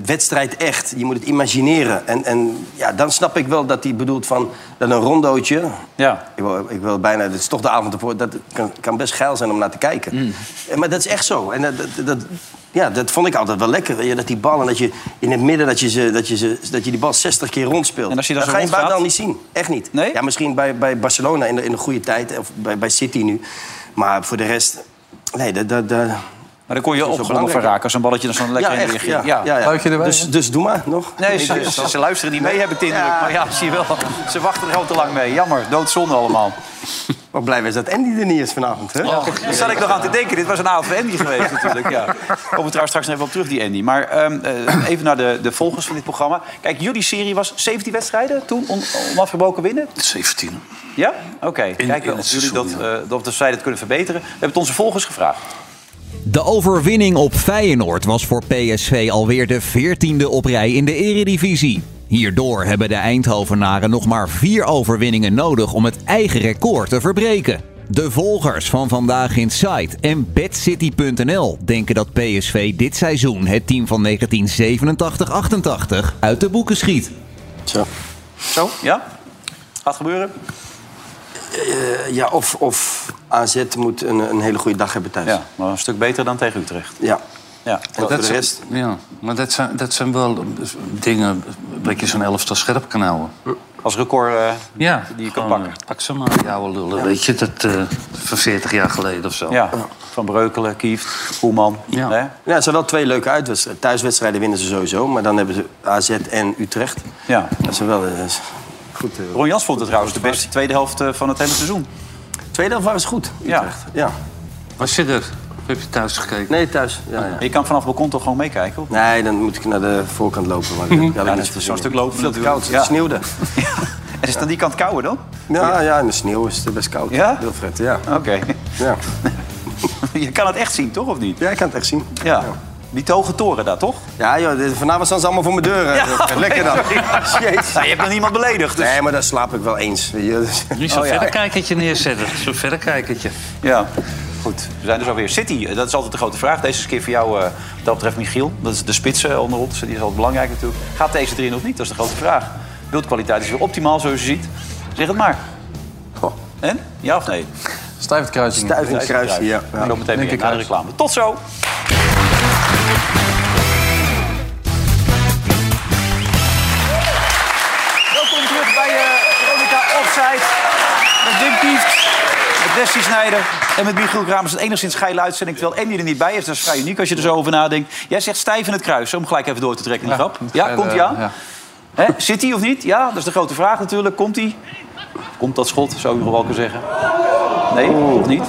wedstrijd echt. Je moet het imagineren. En, en ja, dan snap ik wel dat hij bedoelt van dat een rondootje...
Ja.
Ik wil, ik wil bijna, het is toch de avond ervoor, dat kan, kan best geil zijn om naar te kijken.
Mm.
Eh, Maar dat is echt zo. En dat, dat, dat- ja, dat vond ik altijd wel lekker. weet je, Dat die ballen, dat je in het midden, dat je, ze, dat je, ze, dat je die bal 60 keer rondspeelt.
En als je dan
dat
zo
ga je
rondgaat?
buitenland niet zien. Echt niet. Ja, misschien bij, bij Barcelona in de, in de goede tijd, of bij, bij City nu. Maar voor de rest, nee, dat... dat, dat
Maar dan kon je opgewonden van raken als een balletje dan zo'n lekker
ja,
in de
echt,
weer
ja,
ging.
ja. ja, dus,
Dus-
dus doe maar nog. dus-
Nee, ze, ze- ze luisteren niet mee, heb ik de indruk.
Ja.
Maar ja, zie je wel, ze wachten er al te lang mee. Jammer, doodzonde allemaal.
Wat blij was dat Andy er niet is vanavond, hè?
Oh, daar zat ik nog aan te denken. Dit was een avond van Andy geweest natuurlijk. Ja. Komen we trouwens straks nog even op terug, die Andy. Maar ehm, eh, even naar de, de volgers van dit programma. Kijk, jullie serie was 17 wedstrijden toen on, onafgebroken winnen.
17.
Ja? Oké. Kijken of, jullie dat, eh, of dat zij dat kunnen verbeteren. We hebben het onze volgers gevraagd.
De overwinning op Feyenoord was voor PSV alweer de 14e op rij in de Eredivisie. Hierdoor hebben de Eindhovenaren nog maar vier overwinningen nodig om het eigen record te verbreken. De volgers van Vandaag in Sight en BadCity.nl denken dat PSV dit seizoen het team van 1987-88 uit de boeken schiet.
Zo.
Zo? Ja? Gaat gebeuren?
Eh, ja, of, of AZ moet een, een hele goede dag hebben thuis.
Ja, maar een stuk beter dan tegen Utrecht.
Ja.
Ja.
Maar dat, zijn- ja, maar dat zijn, dat zijn wel dingen dat je zo'n elftal scherp kan houden.
Als record eh,
ja,
die je
kan pakken. Pak ze maar, die oude lullen. Weet je, dat eh, van 40 jaar geleden of zo.
Ja, Van Breukelen, Kieft, Koeman.
eh, Ja.
Ja, het zijn wel twee leuke uitwedstrijden. Thuiswedstrijden winnen ze sowieso, maar dan hebben ze AZ en Utrecht.
Ja.
Dat zijn wel dat is goed. eh.
Ron Jans vond het trouwens de beste tweede helft eh, van het hele seizoen.
Tweede helft waren ze goed.
Ja.
ja.
Was je er? Of heb je thuis gekeken?
Nee, thuis. Ja, ja.
Je kan vanaf het balkon toch gewoon meekijken? Of?
Nee, dan moet ik naar de voorkant lopen. Maar
Mhm.
mm
Ja, dat is zo'n stuk lopen
Veel te
natuurlijk.
koud,
Ja.
het sneeuwde.
En is het aan die kant kouder dan?
Ja, ja, in de sneeuw is het best koud.
Ja?
Wilfred, ja.
Oké.
Ja.
je kan het echt zien, toch? Of niet?
Ja, ik kan het echt zien.
Ja. Die toge toren daar, toch?
Ja, joh, dit- vanavond staan ze allemaal voor mijn deur. eh,
Ja,
Wilfred. Lekker dan.
sorry.
Jezus.
Nou, je hebt nog niemand beledigd. dus-
Nee, maar daar slaap ik wel eens. weet je. Oh,
Nu zo'n verrekijkertje neerzetten. Zo'n verrekijkertje.
Ja. Goed, we zijn dus alweer. City, eh, dat is altijd de grote vraag. Deze is een keer voor jou, eh, wat dat betreft, Michiel. Dat is de spits eh, onder ons. Die is altijd belangrijk natuurlijk. Gaat deze erin of niet? Dat is de grote vraag. Beeldkwaliteit is weer optimaal, zoals je ziet. Zeg het maar. En? Ja of nee?
Stuivend kruising.
Stuivend kruising, ja. ja. Zo meteen weer naar de reclame. Tot zo! Welkom terug bij eh, Veronica Offside. Met Wim Kieft, met Desti Snijder en met Michiel Kramers. Een enigszins geile uitzending, terwijl Andy er niet bij is. Dat is vrij uniek als je er zo over nadenkt. Jij zegt stijf in het kruis, om gelijk even door te trekken. die grap. Ja, komt hij aan? Hè, zit hij of niet? Ja, dat is de grote vraag natuurlijk. Komt hij? Komt dat schot, zou ik nog wel kunnen zeggen. Nee, of niet?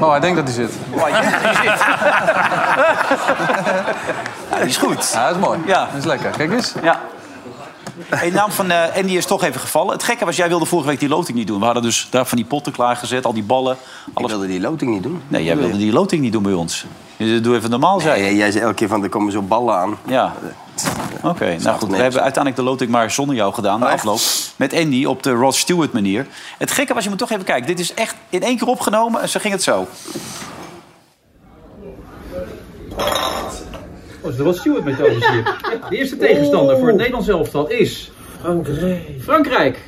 Oh, hij denkt dat hij zit.
Ja, die is goed.
Ja, dat is mooi.
Ja.
Dat is lekker. Kijk eens.
Ja. Hey, de naam van eh Andy is toch even gevallen. Het gekke was, jij wilde vorige week die loting niet doen. We hadden dus daar van die potten klaargezet, al die ballen. Alles... Ik wilde die loting niet doen. Nee, jij wilde die loting niet doen bij ons. Je- Doe even normaal, zei
Nee, jij zei elke keer van, er komen zo ballen aan.
Ja. Oké, nou goed. We hebben uiteindelijk de loting maar zonder jou gedaan na afloop. Met Andy op de Rod Stewart manier. Het gekke was, je moet toch even kijken. Dit is echt in één keer opgenomen en zo ging het zo.
Oh, dat was Stuart met ons hier. De eerste tegenstander voor het Nederlands elftal is... Frankrijk. Frankrijk.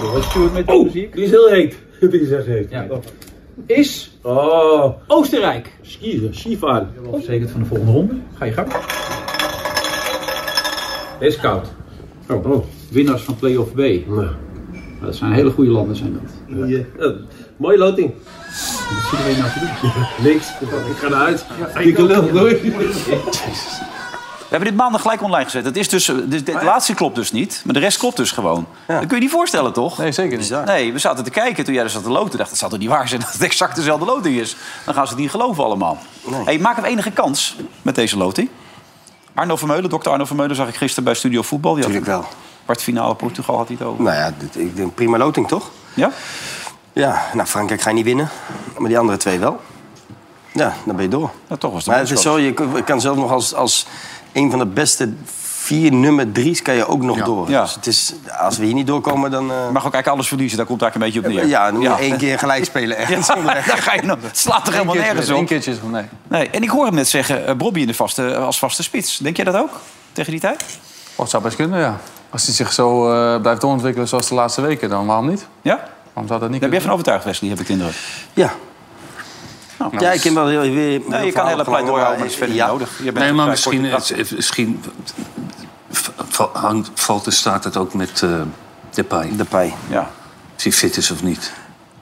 Dat was Stuart met oh, die is heel heet. Die is echt heet. Ja. Is Oostenrijk. Skiën, skifahren. Verzekerd van de volgende ronde. Ga je gang. Dit is koud. Oh, oh. Winnaars van play-off B. Dat zijn hele goede landen, zijn dat.
Eh,
mooie loting. Wat zit er nou te doen?
Niks. Ik ga eruit.
Dikke lul, doei.
We hebben dit maandag gelijk online gezet. Het is dus, eh, dit,
Oh
dit laatste klopt dus niet, maar de rest klopt dus gewoon. Dat kun je niet voorstellen, toch? Nee, zeker niet. Nee, we zaten te kijken toen jij er zat te loten. dacht, dat zou toch niet waar zijn dat het exact dezelfde loting is? Dan gaan ze het niet geloven allemaal. Hey, maak hem enige kans met deze loting. Arno Vermeulen, dokter Arno Vermeulen, zag ik gisteren bij Studio Voetbal. Die Natuurlijk
wel.
Kwartfinale Portugal had hij het over.
Nou ja, dit- ik denk prima loting, toch?
Ja?
Ja, nou, Frankrijk ga je niet winnen. Maar die andere twee wel. Ja, dan ben je door.
Nou, toch was het
Maar
een
het is
kans.
zo, je kan- je kan zelf nog als, als een van de beste vier nummer drie's kan je ook nog door. Dus het is, als we hier niet doorkomen, dan... eh,
Je mag ook eigenlijk alles verliezen, daar komt het eigenlijk een beetje op neer.
Ja, dan moet je één keer gelijk spelen. Echt.
Ja, daar ga je nog. Het slaat er helemaal nergens op.
Eén keertje is goed, nee.
Nee, en ik hoor hem net zeggen, eh, Bobby in de vaste, als vaste spits. Denk jij dat ook? Tegen die tijd?
Oh, het zou best kunnen, ja. Als hij zich zo eh, blijft doorontwikkelen zoals de laatste weken, dan waarom niet?
Ja?
Waarom zou dat niet
Daar ben je van overtuigd, Wesley, heb ik de indruk.
Ja.
Nou,
ja, ik ken wel heel...
Nee, je kan hele pleidooi houden, maar dat is verder
Ja.
niet nodig. Je bent
nee, maar
vrij
misschien,
kort
het, het- misschien v- v- hangt, valt en staat het ook met eh Depay.
Depay,
ja.
Of hij fit is of niet.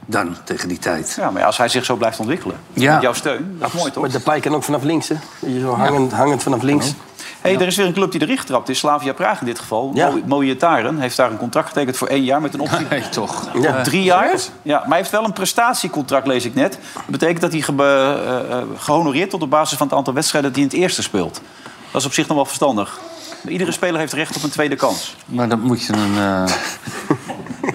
Dan, tegen die tijd.
Ja, maar als hij zich zo blijft ontwikkelen.
Ja.
Met jouw steun. Dat is mooi, toch?
Maar Depay kan ook vanaf links, hè? Dat je zo hangend, hangend vanaf links.
Hey, er is weer een club die erin getrapt is. Slavia Praag in dit geval. Mo- Mojataren heeft daar een contract getekend voor één jaar met een optie.
Nee, toch.
Op drie jaar. Eh, Ja, maar hij heeft wel een prestatiecontract, lees ik net. Dat betekent dat hij ge- eh, eh, gehonoreerd wordt op basis van het aantal wedstrijden dat hij in het eerste speelt. Dat is op zich nog wel verstandig. Maar iedere speler heeft recht op een tweede kans.
Maar dan moet je een... eh,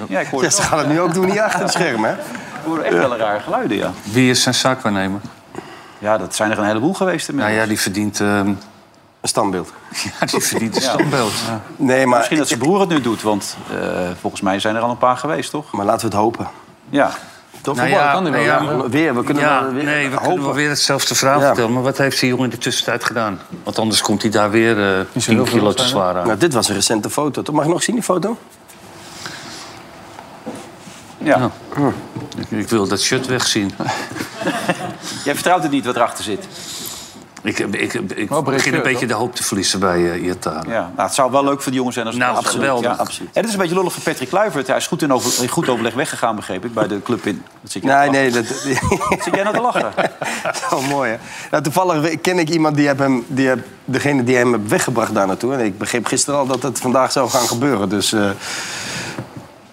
Ja, ik hoor
Ja, ze gaan het nu ook doen hier achter het scherm, hè?
Ik hoor echt wel rare geluiden, ja.
wie is zijn zaakwaarnemer?
Ja, dat zijn er een heleboel geweest
Nou
inmiddels.
ja, die verdient... ehm,
Een standbeeld.
Ja, die verdient een standbeeld. Ja.
Nee, maar
Misschien dat zijn broer het nu doet, want eh, volgens mij zijn er al een paar geweest, toch?
Maar laten we het hopen.
Ja.
Toch?
Nou
Voetbal
ja,
kan die wel,
nou ja,
ja. Weer, we kunnen
ja,
wel weer
nee, we
hopen.
kunnen wel weer hetzelfde verhaal
Ja.
vertellen. Maar wat heeft die jongen in de tussentijd gedaan? Want anders komt hij daar weer eh, 10 kilo te zwaar aan.
Nou, dit was een recente foto. toch? Mag ik nog zien die foto?
Ja.
Ik, ik wil dat shirt wegzien.
Jij vertrouwt het niet wat erachter zit.
Ik, ik, ik, ik
Wel breed
begin een
shirt,
beetje
hoor.
de hoop te verliezen bij eh Iataren.
Ja, nou, het zou wel leuk voor de jongens zijn als het
Nou,
wel zo
geweldig,
lukt, En het is een beetje lullig voor Patrick Kluivert. Hij is goed, in over, in goed overleg weggegaan, begreep ik, bij de club in. Wat zit je
Nee,
nou te
nee.
lachen?
Dat...
Zit jij nou te lachen?
Zo mooi, hè? Nou, toevallig ken ik iemand die, heb hem, die heb, degene die hem heeft weggebracht daar naartoe. En ik begreep gisteren al dat het vandaag zou gaan gebeuren. Dus eh,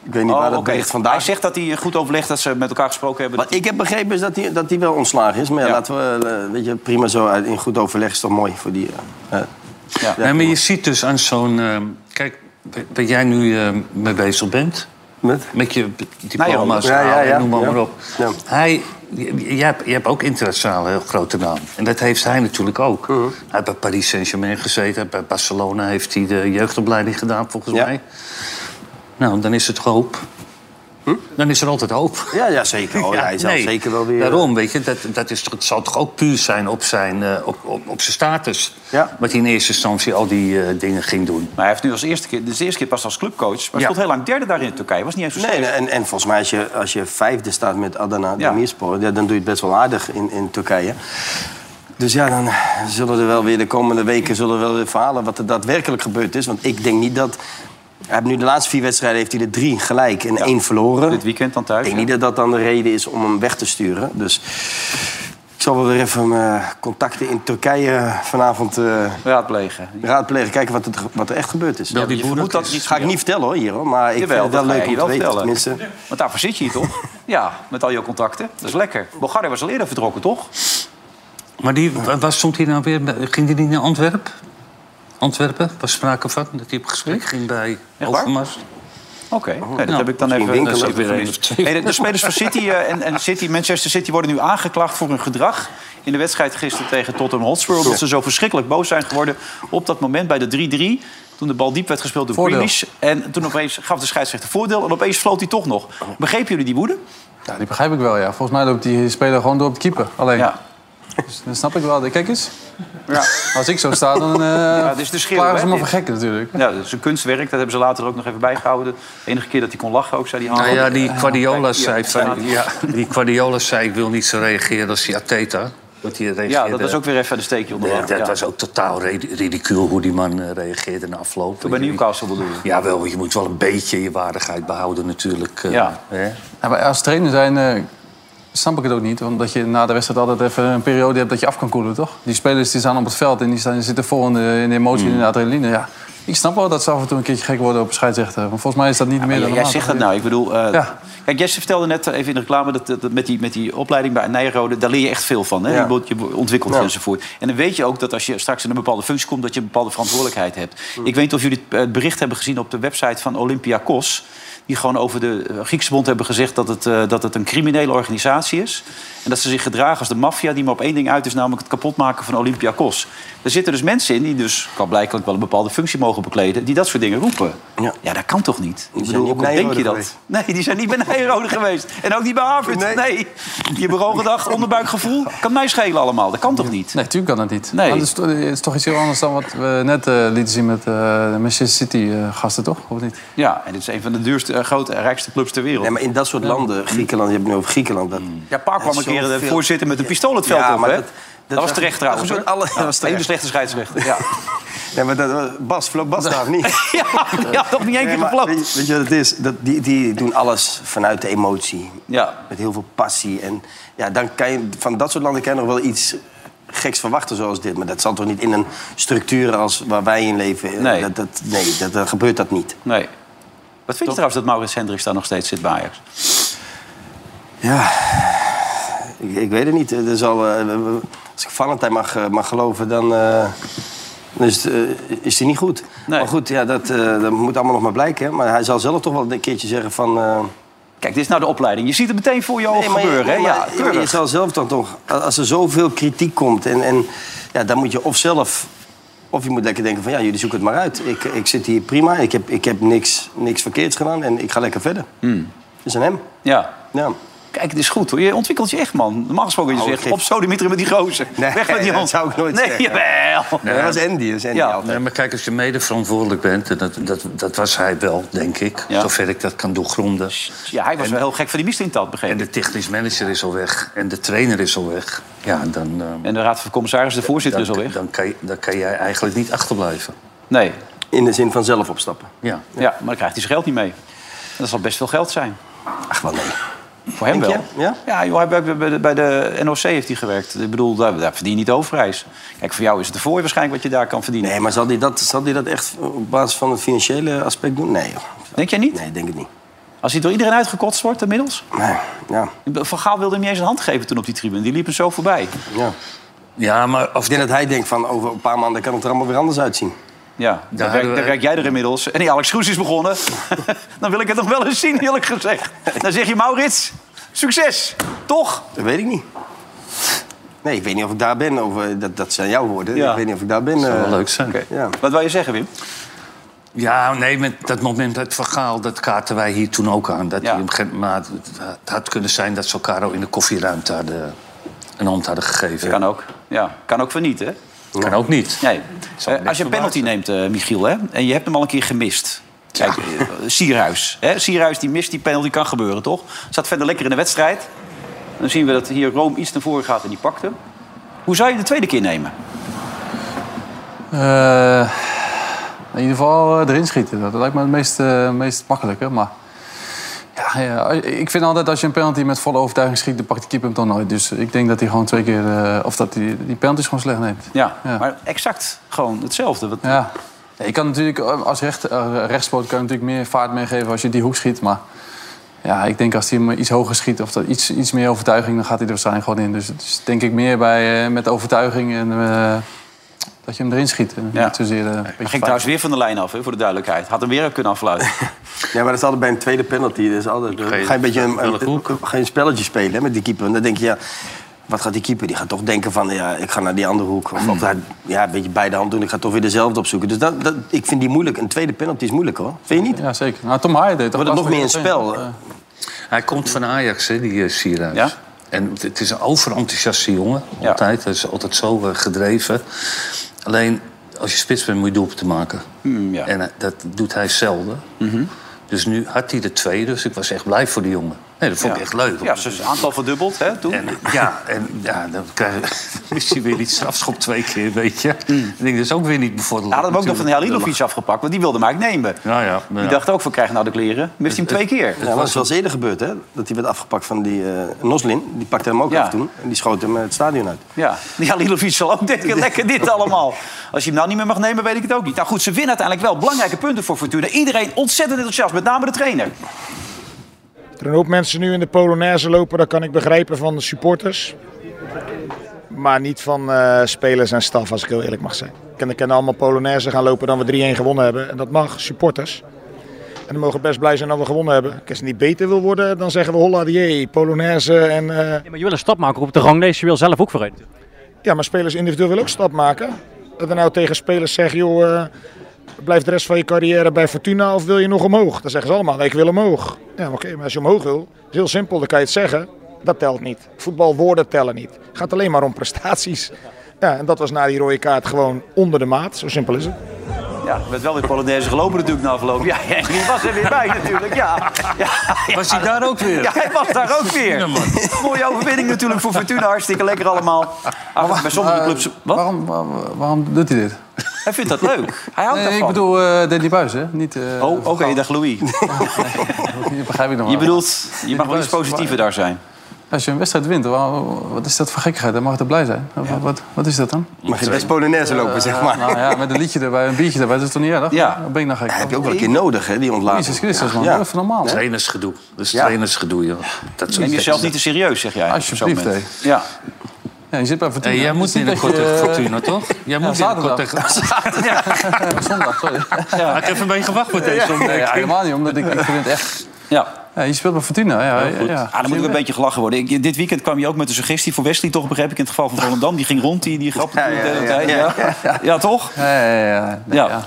ik weet niet
Oh,
waar dat
oké.
bericht vandaag...
Hij zegt dat hij goed overlegt, dat ze met elkaar gesproken hebben.
Wat ik heb begrepen is dat hij dat die wel ontslagen is. Maar ja, laten we, eh, weet je, prima zo uit, in goed overleg is toch mooi voor die... eh, eh,
Nee, maar je ziet dus aan zo'n... ehm, kijk, waar- waar jij nu eh, mee bezig bent...
Met?
je b- diploma's
Ja, ja,
halen en
ja,
noem maar,
ja.
maar op.
Ja.
Hij, j- jij, hebt- jij hebt ook internationaal een heel grote naam. En dat heeft hij natuurlijk ook.
Uh-huh.
Hij heeft bij Paris Saint-Germain gezeten. hij heeft Bij Barcelona heeft hij de jeugdopleiding gedaan, volgens mij. Nou, dan is het hoop Dan is er altijd hoop.
Ja, ja zeker. hoor. Oh, hij zal zeker wel weer- eh,
Daarom, weet je, dat, dat is, toch- het zal toch ook puur zijn op zijn, eh, op, op, op zijn status. Ja. Wat hij in eerste instantie al die eh, dingen ging doen.
Maar hij heeft nu als eerste keer, dus de eerste keer pas als clubcoach. Maar hij
Ja.
stond heel lang derde daar in Turkije. Was niet eens zo
Nee,
slecht.
nee, en, en volgens mij als je, als je vijfde staat met Adana Demirspor... Ja, dan doe je het best wel aardig in, in Turkije. Dus ja, dan zullen er wel weer de komende weken zullen er wel weer verhalen... wat er daadwerkelijk gebeurd is. Want ik denk niet dat... Hij heeft nu de laatste vier wedstrijden heeft hij er drie gelijk en één verloren. Dit
weekend dan thuis.
Ik denk niet dat dat dan de reden is om hem weg te sturen. Dus ik zal wel weer even mijn contacten in Turkije vanavond... eh,
Raadplegen.
Raadplegen, kijken wat, het, wat er echt gebeurd is.
die boer dat niet
ga ik niet vertellen hoor, hier, hoor, maar ik
Jawel,
vind het
dat
wel
ga
leuk
je
om te
wel
weten.
vertellen.
Tenminste,
Want daarvoor zit je hier toch? ja, met al je contacten. Dat is lekker. Bulgarije was al eerder vertrokken, toch?
Maar die, wa- waar stond hij nou weer? Ging hij niet naar Antwerpen? Antwerpen? Was sprake van dat hij op gesprek ging bij Overmars?
Oh, Oké, nee, dat heb ik dan even...
Oh, nou, winkelen.
dat is even
Weer
gemist.
een of twee.
Hey, de, de spelers van City eh, en, en City, Manchester City worden nu aangeklaagd voor hun gedrag... in de wedstrijd gisteren tegen Tottenham Hotspur... omdat
Ja.
ze zo verschrikkelijk boos zijn geworden op dat moment bij de 3-3... toen de bal diep werd gespeeld door
Voordeel.
Grealish. En toen opeens gaf de scheidsrechter voordeel... en opeens floot hij toch nog. Begrepen jullie die woede?
Ja, die begrijp ik wel, ja. Volgens mij loopt die speler gewoon door op het keeper. Alleen. Dus dat snap ik wel. Kijk eens. Als ik zo sta, dan eh
Ja, dit is de schreeuw,
klaren ze
hè,
me
dit.
voor gek natuurlijk.
Ja, dat is een kunstwerk. Dat hebben ze later ook nog even bijgehouden. De enige keer dat hij kon lachen ook, zei hij...
Nou
"Ah,
ja,
goed."
die Guardiola
Kijk,
zei,
hier,
van-
staat-
ja, die Guardiola zei ik wil niet zo reageren als die Ateta. Dat hij reageerde,
Ja, dat was ook weer even een steekje onder de
Nee,
lat,
dat
ja.
was ook totaal re- ridicuul hoe die man eh, reageerde na afloop. Toen
bij Newcastle bedoel
je? Ja, wel, want je moet wel een beetje je waardigheid behouden natuurlijk. eh,
Ja.
hè.
Ja, maar als trainer zijn eh, snap ik het ook niet. Omdat je na de wedstrijd altijd even een periode hebt dat je af kan koelen, toch? Die spelers die staan op het veld en die staan, zitten vol in de, in de emotie en in de
Hmm.
adrenaline. Ja. Ik snap wel dat ze af en toe een keertje gek worden op scheidsrechter. Want volgens mij is dat niet meer
Ja,
dan
jij
normaal.
zegt dat nou. Ik bedoel, eh,
Ja.
kijk, Jesse vertelde net eh, even in de reclame dat, dat- dat met, die, met die opleiding bij Nijrode, daar leer je echt veel van. Hè?
Ja.
Je, wordt- je wordt ontwikkeld
Ja.
enzovoort. En dan weet je ook dat als je straks in een bepaalde functie komt, dat je een bepaalde verantwoordelijkheid hebt. Ik weet niet of jullie het eh, bericht hebben gezien op de website van Olympiakos. Die gewoon over de eh, Griekse bond hebben gezegd dat het, eh, dat het een criminele organisatie is. En dat ze zich gedragen als de maffia die maar op één ding uit is, namelijk het kapotmaken van Olympiakos. Er zitten dus mensen in die dus kan blijkbaar wel een bepaalde functie mogen bekleden, die dat soort dingen roepen. Ja, dat kan toch niet? Ik
Die
bedoel,
zijn
ook
niet
al denk je
Nijrode
dat?
geweest.
Nee, die zijn niet bij Nijrode geweest. En ook niet bij Harvard. Nee. Je bureaugedacht, onderbuikgevoel. Kan mij schelen allemaal. Dat kan toch niet?
Nee, natuurlijk kan dat niet.
Nee.
Maar dat is, to- het is toch iets heel anders dan wat we net eh, lieten zien met eh, de Manchester City-gasten, toch? Of niet?
Ja, en dit is een van de duurste, eh, grote en rijkste clubs ter wereld.
Nee, maar in dat soort landen, Griekenland, je hebt het nu over Griekenland. Dat,
Ja, Paar kwam een keer de
Zoveel-
voorzitter met een pistool het veld
Ja,
op,
maar
hè?
dat-
Dat,
dat
was
was-
terecht
dat
trouwens,
gebeurt
hoor.
alle- dat was
Hele
terecht.
slechte scheidsrechter, ja.
Nee, maar dat, Bas, vloog Bas daar of niet?
ja, die had nog niet één keer
maar
gefloten.
Weet, je- weet je wat het is? Dat, die, die doen alles vanuit de emotie.
Ja.
Met heel veel passie. En ja, dan kan je, van dat soort landen kan je nog wel iets geks verwachten zoals dit. Maar dat zal toch niet in een structuur als waar wij in leven... eh,
Nee.
Dat, dat, nee, dat, dat gebeurt dat niet.
Nee. Wat vind je trouwens dat Maurits Hendricks daar nog steeds zit bij Ajax?
Ja, ik, ik weet het niet. Er zal, eh, als ik Valentijn mag, eh, mag geloven, dan eh, dan is, het, eh, is hij niet goed. Maar goed, ja, dat, eh, dat moet allemaal nog maar blijken. hè. Maar hij zal zelf toch wel een keertje zeggen van... eh,
Kijk, dit is nou de opleiding. Je ziet het meteen voor je ogen
maar je-
gebeuren, hè?
maar
Ja,
je-
keurig.
je zal zelf dan toch... Als er zoveel kritiek komt en, en ja, dan moet je of zelf... Of je moet lekker denken van, ja, jullie zoeken het maar uit. Ik, ik zit hier prima, ik heb, ik heb niks, niks verkeerds gedaan en ik ga lekker verder.
Hmm.
Dat is aan hem.
Ja.
ja.
Kijk, het is goed hoor. Je ontwikkelt je echt, man. Normaal gesproken je
Oh,
zegt,
geef-
op sodemieteren met die gozer. Weg met die
dat
hand.
zou ik nooit
nee,
zeggen.
Jawel.
Nee, dat was
Andy, is Andy altijd.
Nee, maar kijk, als je mede verantwoordelijk bent, en dat, dat, dat was hij wel, denk ik. Zover ik dat kan doorgronden.
Ja, hij was wel heel gek van die mist in dat begrepen.
En de technisch manager is al weg. En de trainer is al weg. Ja, dan,
en de raad van commissarissen, de voorzitter
is al weg. Dan kan, je, dan kan jij eigenlijk niet achterblijven.
Nee.
In de zin van zelf opstappen.
Ja.
Ja, maar dan krijgt hij zijn geld niet mee. En dat zal best veel geld zijn.
Ach, wel nee.
Voor hem
Denk
wel. Ja, joh, hij heeft ook bij, de, bij de NOC heeft hij gewerkt. Ik bedoel, daar, daar verdien je niet overprijs. Kijk, voor jou is het een fooi waarschijnlijk wat je daar kan verdienen.
Nee, maar zal die dat, zal die dat echt op basis van het financiële aspect doen? Nee, joh.
Denk jij niet? Nee,
ik denk het niet.
Als hij door iedereen uitgekotst wordt inmiddels?
Nee, ja.
Van Gaal wilde hem niet eens een hand geven toen op die tribune. Die liep hem zo voorbij.
Ja.
Ja, maar...
Of ik denk dat hij denkt van over een paar maanden kan het er allemaal weer anders uitzien.
Ja, dan,
hadden
werk,
we-
dan werk jij er inmiddels. En die Alex Groes is begonnen. dan wil ik het nog wel eens zien, eerlijk gezegd. Dan zeg je, Maurits, succes. Toch?
Dat weet ik niet. Nee, ik weet niet of ik daar ben. Of, eh, dat, dat zijn jouw woorden.
Ja.
Ik weet niet of ik daar ben.
Zou wel
eh.
leuk zijn.
Ja.
Wat wil je zeggen, Wim?
Ja, nee, met dat moment uit Vergaal, dat kaarten wij hier toen ook aan. Dat die op een gegeven moment- maar het het had kunnen zijn dat ze elkaar al in de koffieruimte hadden, een hand hadden gegeven.
Kan ook. Ja, kan ook vernieten, hè?
Kan ook niet.
Nee. Eh, als je een penalty neemt, eh, Michiel, hè, en je hebt hem al een keer gemist. Kijk, eh, Sierhuis. Hè? Sierhuis die mist die penalty, kan gebeuren, toch? Zat verder lekker in de wedstrijd. Dan zien we dat hier Room iets naar voren gaat en die pakt hem. Hoe zou je de tweede keer nemen?
Eh, in ieder geval eh, erin schieten. Dat lijkt me het meest, eh, meest makkelijke. Maar ja, ja, eh, ik vind altijd als je een penalty met volle overtuiging schiet, dan pakt de keeper hem toch nooit. Dus ik denk dat hij gewoon twee keer. eh, of dat hij die penalties gewoon slecht neemt.
Ja, maar exact gewoon hetzelfde. Wat...
Ja. Ja, Je kan natuurlijk eh, als recht, eh, rechtspoot kan je natuurlijk meer vaart meegeven als je die hoek schiet. Maar ja, ik denk als hij hem iets hoger schiet of dat iets, iets meer overtuiging, dan gaat hij er zijn gewoon in. Dus het is denk ik meer bij, eh, met overtuiging en eh, dat je hem erin schiet. En Niet zozeer, eh, een beetje
Hij ging
vaart.
trouwens weer van de lijn af, hè, voor de duidelijkheid. Had hem weer kunnen afluiten.
Ja, maar dat is altijd bij een tweede penalty. Dat is altijd, dan ga je een beetje een, een- geen spelletje spelen hè, met die keeper. En dan denk je, ja, wat gaat die keeper? Die gaat toch denken van, ja, ik ga naar die andere hoek. Of wat, hij- ja, een beetje bij de hand doen, ik ga toch weer dezelfde opzoeken. Dus dat, dat, ik vind die moeilijk. Een tweede penalty is moeilijk, hoor. Vind je niet?
Ja, zeker. Nou, Tom Haaien deed
Wordt het nog meer een spel.
eh,
Hij komt van Ajax, hè, die eh, Sierhuis. En het- het is een overenthousiaste jongen, altijd. Hij is altijd zo eh, gedreven. Alleen, als je spits bent, moet je doelpunten maken.
Hmm,
En eh, dat doet hij zelden.
Mhm.
Dus nu had hij de twee, dus ik was echt blij voor die jongen. Nee, dat vond ik echt leuk.
Ja, dus het aantal verdubbeld, hè, toen.
Ja, en ja, dan krijg je, is hij weer die strafschop twee keer, weet je.
Hmm.
Ik denk, dat is ook weer niet bevorderlijk.
Ja, dat hebben we ook nog van
natuurlijk.
Halilovic afgepakt, want die wilde hem eigenlijk nemen.
Ja, ja.
Die dacht ook van, krijg nou de kleren? Mist hij hem twee keer.
Ja, dat was wel eens eerder gebeurd, hè? Dat hij werd afgepakt van die eh, Noslin. Die pakte hem ook af toen. En die schoot hem eh, het stadion uit.
Ja, die Halilovic zal ook denken, lekker dit allemaal. Als je hem nou niet meer mag nemen, weet ik het ook niet. Nou goed, ze winnen uiteindelijk wel belangrijke punten voor Fortuna. Iedereen ontzettend enthousiast, met name de trainer.
Er een hoop mensen nu in de Polonaise lopen, dat kan ik begrijpen van de supporters. Maar niet van eh, spelers en staf, als ik heel eerlijk mag zijn. En er kunnen allemaal Polonaise gaan lopen dan we 3-1 gewonnen hebben. En dat mag, supporters. En we mogen best blij zijn dat we gewonnen hebben. Als het niet beter wil worden, dan zeggen we holla die Polonaise en... eh, maar je wil een stap maken op de ranglijst, je wil zelf ook vooruit. Ja, maar spelers individueel willen ook stap maken. Dat we nou tegen spelers zeggen, joh, eh, blijf de rest van je carrière bij Fortuna of wil je nog omhoog? Dan zeggen ze allemaal, nee, ik wil omhoog. Ja, maar oké, maar als je omhoog wil, is heel simpel, dan kan je het zeggen. Dat telt niet. Voetbalwoorden tellen niet. Het gaat alleen maar om prestaties. Ja, en dat was na die rode kaart gewoon onder de maat. Zo simpel is het.
Ja, er werd wel weer Polonaise gelopen natuurlijk na afloop. Ja, ja, die was er weer bij natuurlijk, ja.
Was hij daar ook weer?
Ja, hij was daar ook weer. Mooie overwinning natuurlijk voor Fortuna, hartstikke lekker allemaal. Ach, bij sommige
Maar,
clubs...
Eh, Waarom, waar- waarom doet hij dit?
Hij vindt dat leuk, hij houdt
nee,
daarvan.
ik bedoel eh Danny Buis, hè? Niet, eh,
Oh, oké, dag Louis.
dat begrijp ik nog
Je
wel.
bedoelt, je mag wel iets positiever daar zijn.
Als je een wedstrijd wint, waar- wat is dat voor gekkigheid? Dan mag je er blij zijn. Of Wat, wat is dat dan?
Mag je best Polonaise lopen,
Eh,
zeg maar.
nou ja, met een liedje erbij, een biertje erbij, dat is toch niet erg?
Ja.
Dan ben ik nou gek.
Heb je ook wel een keer nodig, hè, die ontlading.
Jezus Christus, man. Even normaal, hè?
Trainersgedoe. Dat is trainersgedoe, joh. Dat soort
Neem jezelf
teksten.
niet te serieus, zeg jij. op zo'n
Alsjeblieft,
moment. Ja.
Ja, je zit bij Fortuna.
Hey, jij
Het
moet
is niet
binnenkort
dat je- eh,
tegen Fortuna, toch?
Ja,
Jij moet binnenkort
zaterdag.
tegen...
Zondag, sorry.
Ja. Ik heb even mee gewacht met deze
Nee,
ontdekking.
helemaal niet, omdat ik, ik vind het echt...
Ja.
je speelt bij Fortuna, ja. ja, ja.
Ah, dan moet ik een beetje gelachen worden. Ik- dit weekend kwam je ook met een suggestie voor Wesley, toch begreep ik, in het geval van Volendam. Die ging rond, die, die grap. Ja, ja, ja, toch?
Ja, ja, ja. ja. Nee, ja. Het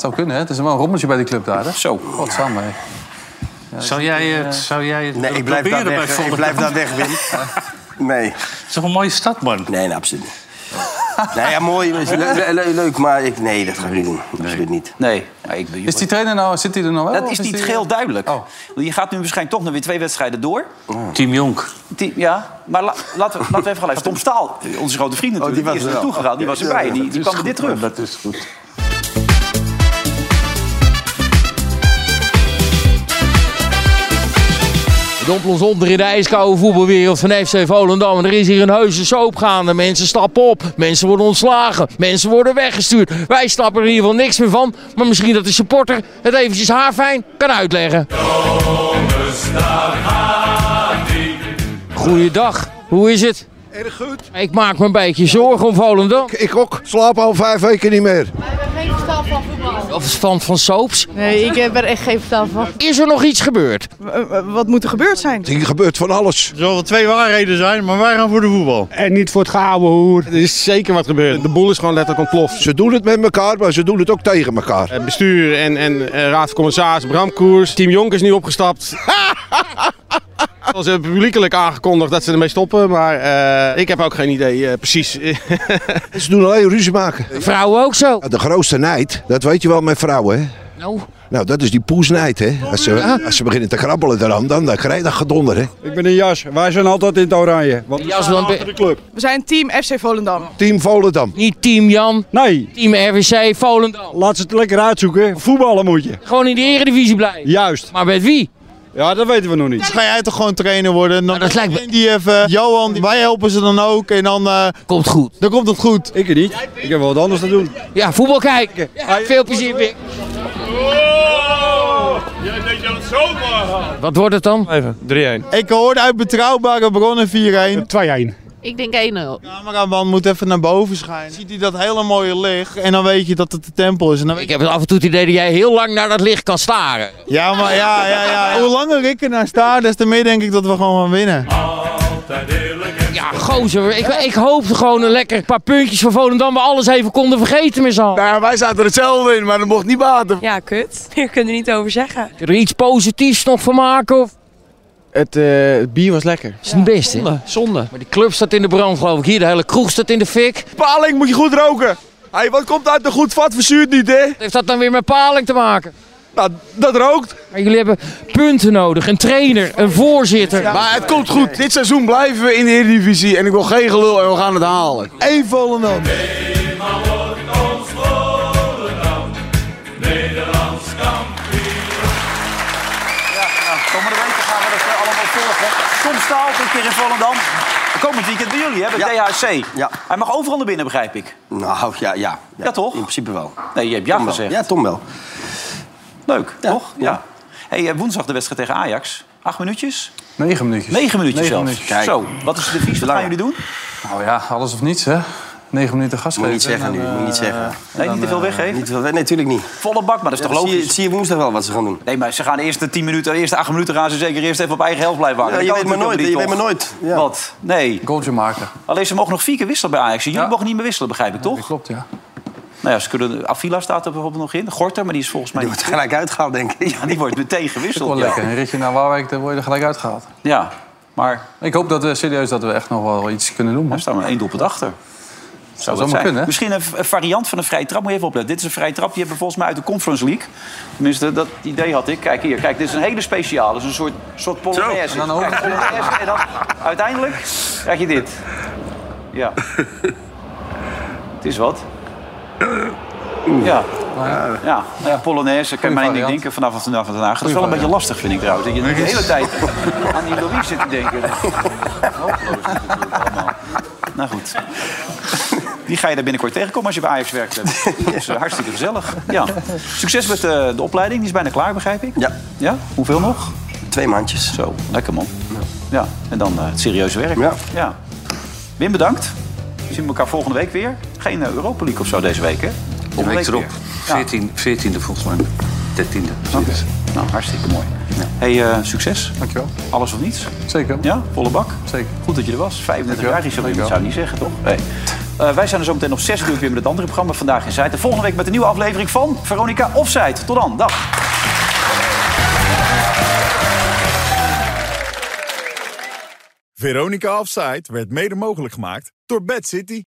zou kunnen, hè? Het is wel een rommeltje bij die club daar, hè?
Zo.
Godsamme, hè.
Zou jij het, zou jij het
Nee,
willen
ik blijf daar
proberen
weg.
bij
hè. Ik
Volendam?
blijf daar weg, Wim. Nee.
Het is toch een mooie stad, man?
Nee, nee, absoluut niet. Nee, ja, mooi, is le- le- le- leuk, maar ik, nee, dat ga ik niet doen. Absoluut niet.
Nee. ik,
Is die trainer nou, zit hij er nou wel?
Dat
of
is niet
die-
geheel duidelijk.
Oh.
Je gaat nu waarschijnlijk toch nog weer twee wedstrijden door.
Team Jonk.
Die- ja, maar la- laten, we, laten we even gaan even. Tom Staal, onze grote vriend natuurlijk, die,
was
is
er
er naartoe
wel.
gegaan. Die was erbij. Die, die kwam met dit terug.
Dat is goed.
We dompelen ons onder in de ijskoude voetbalwereld van FC Volendam. En er is hier een heuse soap gaande. Mensen stappen op, mensen worden ontslagen, mensen worden weggestuurd. Wij snappen er in ieder geval niks meer van. Maar misschien dat de supporter het eventjes haarfijn kan uitleggen. Goeiedag, hoe is het? Erg goed. Ik maak me een beetje zorgen om Volendam. Ik ook, slaap al vijf weken niet meer.
Geen verstand van voetbal.
verstand van soaps?
Nee, ik heb er echt geen verstand van.
Is er nog iets gebeurd?
Wat moet er gebeurd zijn?
Er gebeurt van alles. Er zullen twee waarheden zijn, maar wij gaan voor de voetbal. En niet voor het gehouden hoer. Er is zeker wat gebeurd. De boel is gewoon letterlijk ontploft. Ze doen het met elkaar, maar ze doen het ook tegen elkaar. Het bestuur en, en, en raad van commissaris, Bramkoers. Team Jonk is nu opgestapt. Ze hebben publiekelijk aangekondigd dat ze ermee stoppen, maar eh, ik heb ook geen idee eh, precies. ze doen alleen ruzie maken.
Vrouwen ook zo.
De grootste nijd, dat weet je wel met vrouwen, hè?
Nou.
Nou, dat is die poesnijd, hè? Als ze, als ze beginnen te krabbelen eraan, dan, dan krijg je dat gedonder, hè?
Ik ben een jas. Wij zijn altijd in het oranje. Want we
jas
staan
dan-
achter de club.
We zijn team FC Volendam.
Team Volendam.
Niet team Jan.
Nee.
Team RWC Volendam.
Laat ze het lekker uitzoeken. Voetballen moet je.
Gewoon in de Eredivisie blijven.
Juist.
Maar met wie?
Ja, dat weten we nog niet.
Ga jij toch gewoon trainer worden? Dan dat lijkt die even, Johan, wij helpen ze dan ook en dan...
komt goed.
Dan komt het goed. Ik er niet. Ik heb wel wat anders te doen.
Ja, voetbal kijken. veel plezier, Pik.
Jij deed je het zomaar.
Wat wordt het dan?
Even, 3-1. Ik hoorde uit betrouwbare bronnen 4-1. 2-1.
Ik denk 1-0.
cameraman moet even naar boven schijnen. Ziet hij dat hele mooie licht en dan weet je dat het de tempel is. En dan weet
Ik heb af en toe het idee dat jij heel lang naar dat licht kan staren.
Ja, maar ja, ja, ja. Hoe langer ik ernaar sta, des te meer denk ik dat we gewoon gaan winnen.
Ja, gozer. Ik, ik hoopte gewoon een lekker paar puntjes van Volendam... we alles even konden vergeten met z'n allen.
Ja, Nou, wij zaten hetzelfde in, maar dat mocht niet baten.
Ja, kut. Hier kunnen we niet over zeggen.
Kun je er iets positiefs nog van maken? Of?
Het, eh, het bier was lekker.
is het beste. Zonde,
zonde.
Maar die club staat in de brand, geloof ik. Hier, de hele kroeg staat in de fik.
Paling moet je goed roken. Hey, wat komt uit een goed vat verzuurt niet, hè?
Heeft dat dan weer met paling te maken?
Nou, dat rookt.
Maar jullie hebben punten nodig. Een trainer, een voorzitter.
Maar het komt goed. Dit seizoen blijven we in de Eredivisie en ik wil geen gelul en we gaan het halen.
Eén Volendam.
Nederlands kampioen.
Komende weken gaan we dat eh, allemaal volgen. Soms taalt een keer in Volendam. Komend weekend bij jullie, hè, bij DHC. Hij mag overal naar binnen, begrijp ik.
Nou, ja, ja.
Ja, toch?
In principe wel.
Nee, je hebt ja
Tom wel.
gezegd.
Ja, Tom wel.
Leuk, toch? Ja. Hey, eh, woensdag de wedstrijd tegen Ajax. Acht minuutjes?
Negen minuutjes.
Negen minuutjes
Negen
zelfs.
minuutjes.
Kijk. Zo, wat is de devies? Wat gaan
Belangrijk.
jullie doen?
Nou ja, alles of niets, hè? Negen minuten gas
Moet
geven. eh,
niet zeggen nu, moet niet zeggen.
Nee, eh, niet te veel weggeven.
Niet te veel weg- nee, natuurlijk niet.
Volle bak, maar dat is
Ja,
toch
Eh, dat zie je-
logisch?
zie je woensdag wel wat ze gaan doen.
Nee, maar ze gaan de eerste 10 minuten, de eerste 8 minuten gaan ze zeker eerst even op eigen helft blijven hangen.
Ja, je
Dat
weet
kan
maar nooit. Je weet
natuurlijk
maar
ook niet,
nooit.
toch? Wat? Nee.
Goaltje maken.
Alleen ze mogen nog vier keer wisselen bij Ajax. Jullie mogen niet meer wisselen, begrijp ik, toch?
klopt, ja.
Nou ja, ze kunnen, Avila staat er bijvoorbeeld nog in. Gorter, maar die is volgens mij... Die wordt gelijk
uitgehaald, denk ik.
Ja, die wordt meteen
Wel
gewisseld. ja.
lekker. Een ritje naar Waalwijk, dan word je er gelijk uitgehaald.
Ja, maar...
Ik hoop dat we serieus dat we echt nog wel iets kunnen doen. Er
staat maar één doelpunt achter.
Zou
dat
zomaar
zijn.
kunnen, hè?
Misschien een v- een variant van een vrije trap. Moet je even opletten. Dit is een vrije trap. Die hebben we volgens mij uit de Conference League. Tenminste, dat idee had ik. Kijk hier. Kijk, dit is een hele speciale. Het is een soort, soort polonaise.
En dan ook-
Kijk, polonaise en dan uiteindelijk krijg je dit. Ja. Het is wat. Ja. Ja, ja. Polonaise. Kan je maar één ding denken vanaf vanaf vandaag. Dat is wel een beetje lastig, vind ik trouwens. Dat je de hele tijd aan die Louis zit te denken. Nou goed. Die ga je daar binnenkort tegenkomen als je bij Ajax werkt. Dat is eh, hartstikke gezellig. Ja. Succes met eh, de opleiding. Die is bijna klaar, begrijp ik. Ja. ja? Hoeveel nog?
Twee maandjes.
Zo, lekker man. Ja. En dan eh, het serieuze werk.
Ja.
ja. Wim, bedankt. We zien elkaar volgende week weer. Geen eh, Europa League of zo deze week, hè?
De
Volgende
week erop.
weer.
14, 14e volgens mij. 13e.
Nou, hartstikke mooi. hey, eh, succes. Dankjewel. Alles of niets?
Zeker.
Ja, volle bak.
Zeker.
Goed dat je er was. 35
Dankjewel.
jaar is dat
Dankjewel.
zou je niet zeggen, toch? Nee. Eh, wij zijn er zo meteen op 6 uur weer met het andere programma Vandaag in Zuid. En volgende week met een nieuwe aflevering van Veronica Offside. Tot dan, dag.
Veronica Offside werd mede mogelijk gemaakt door Bad City.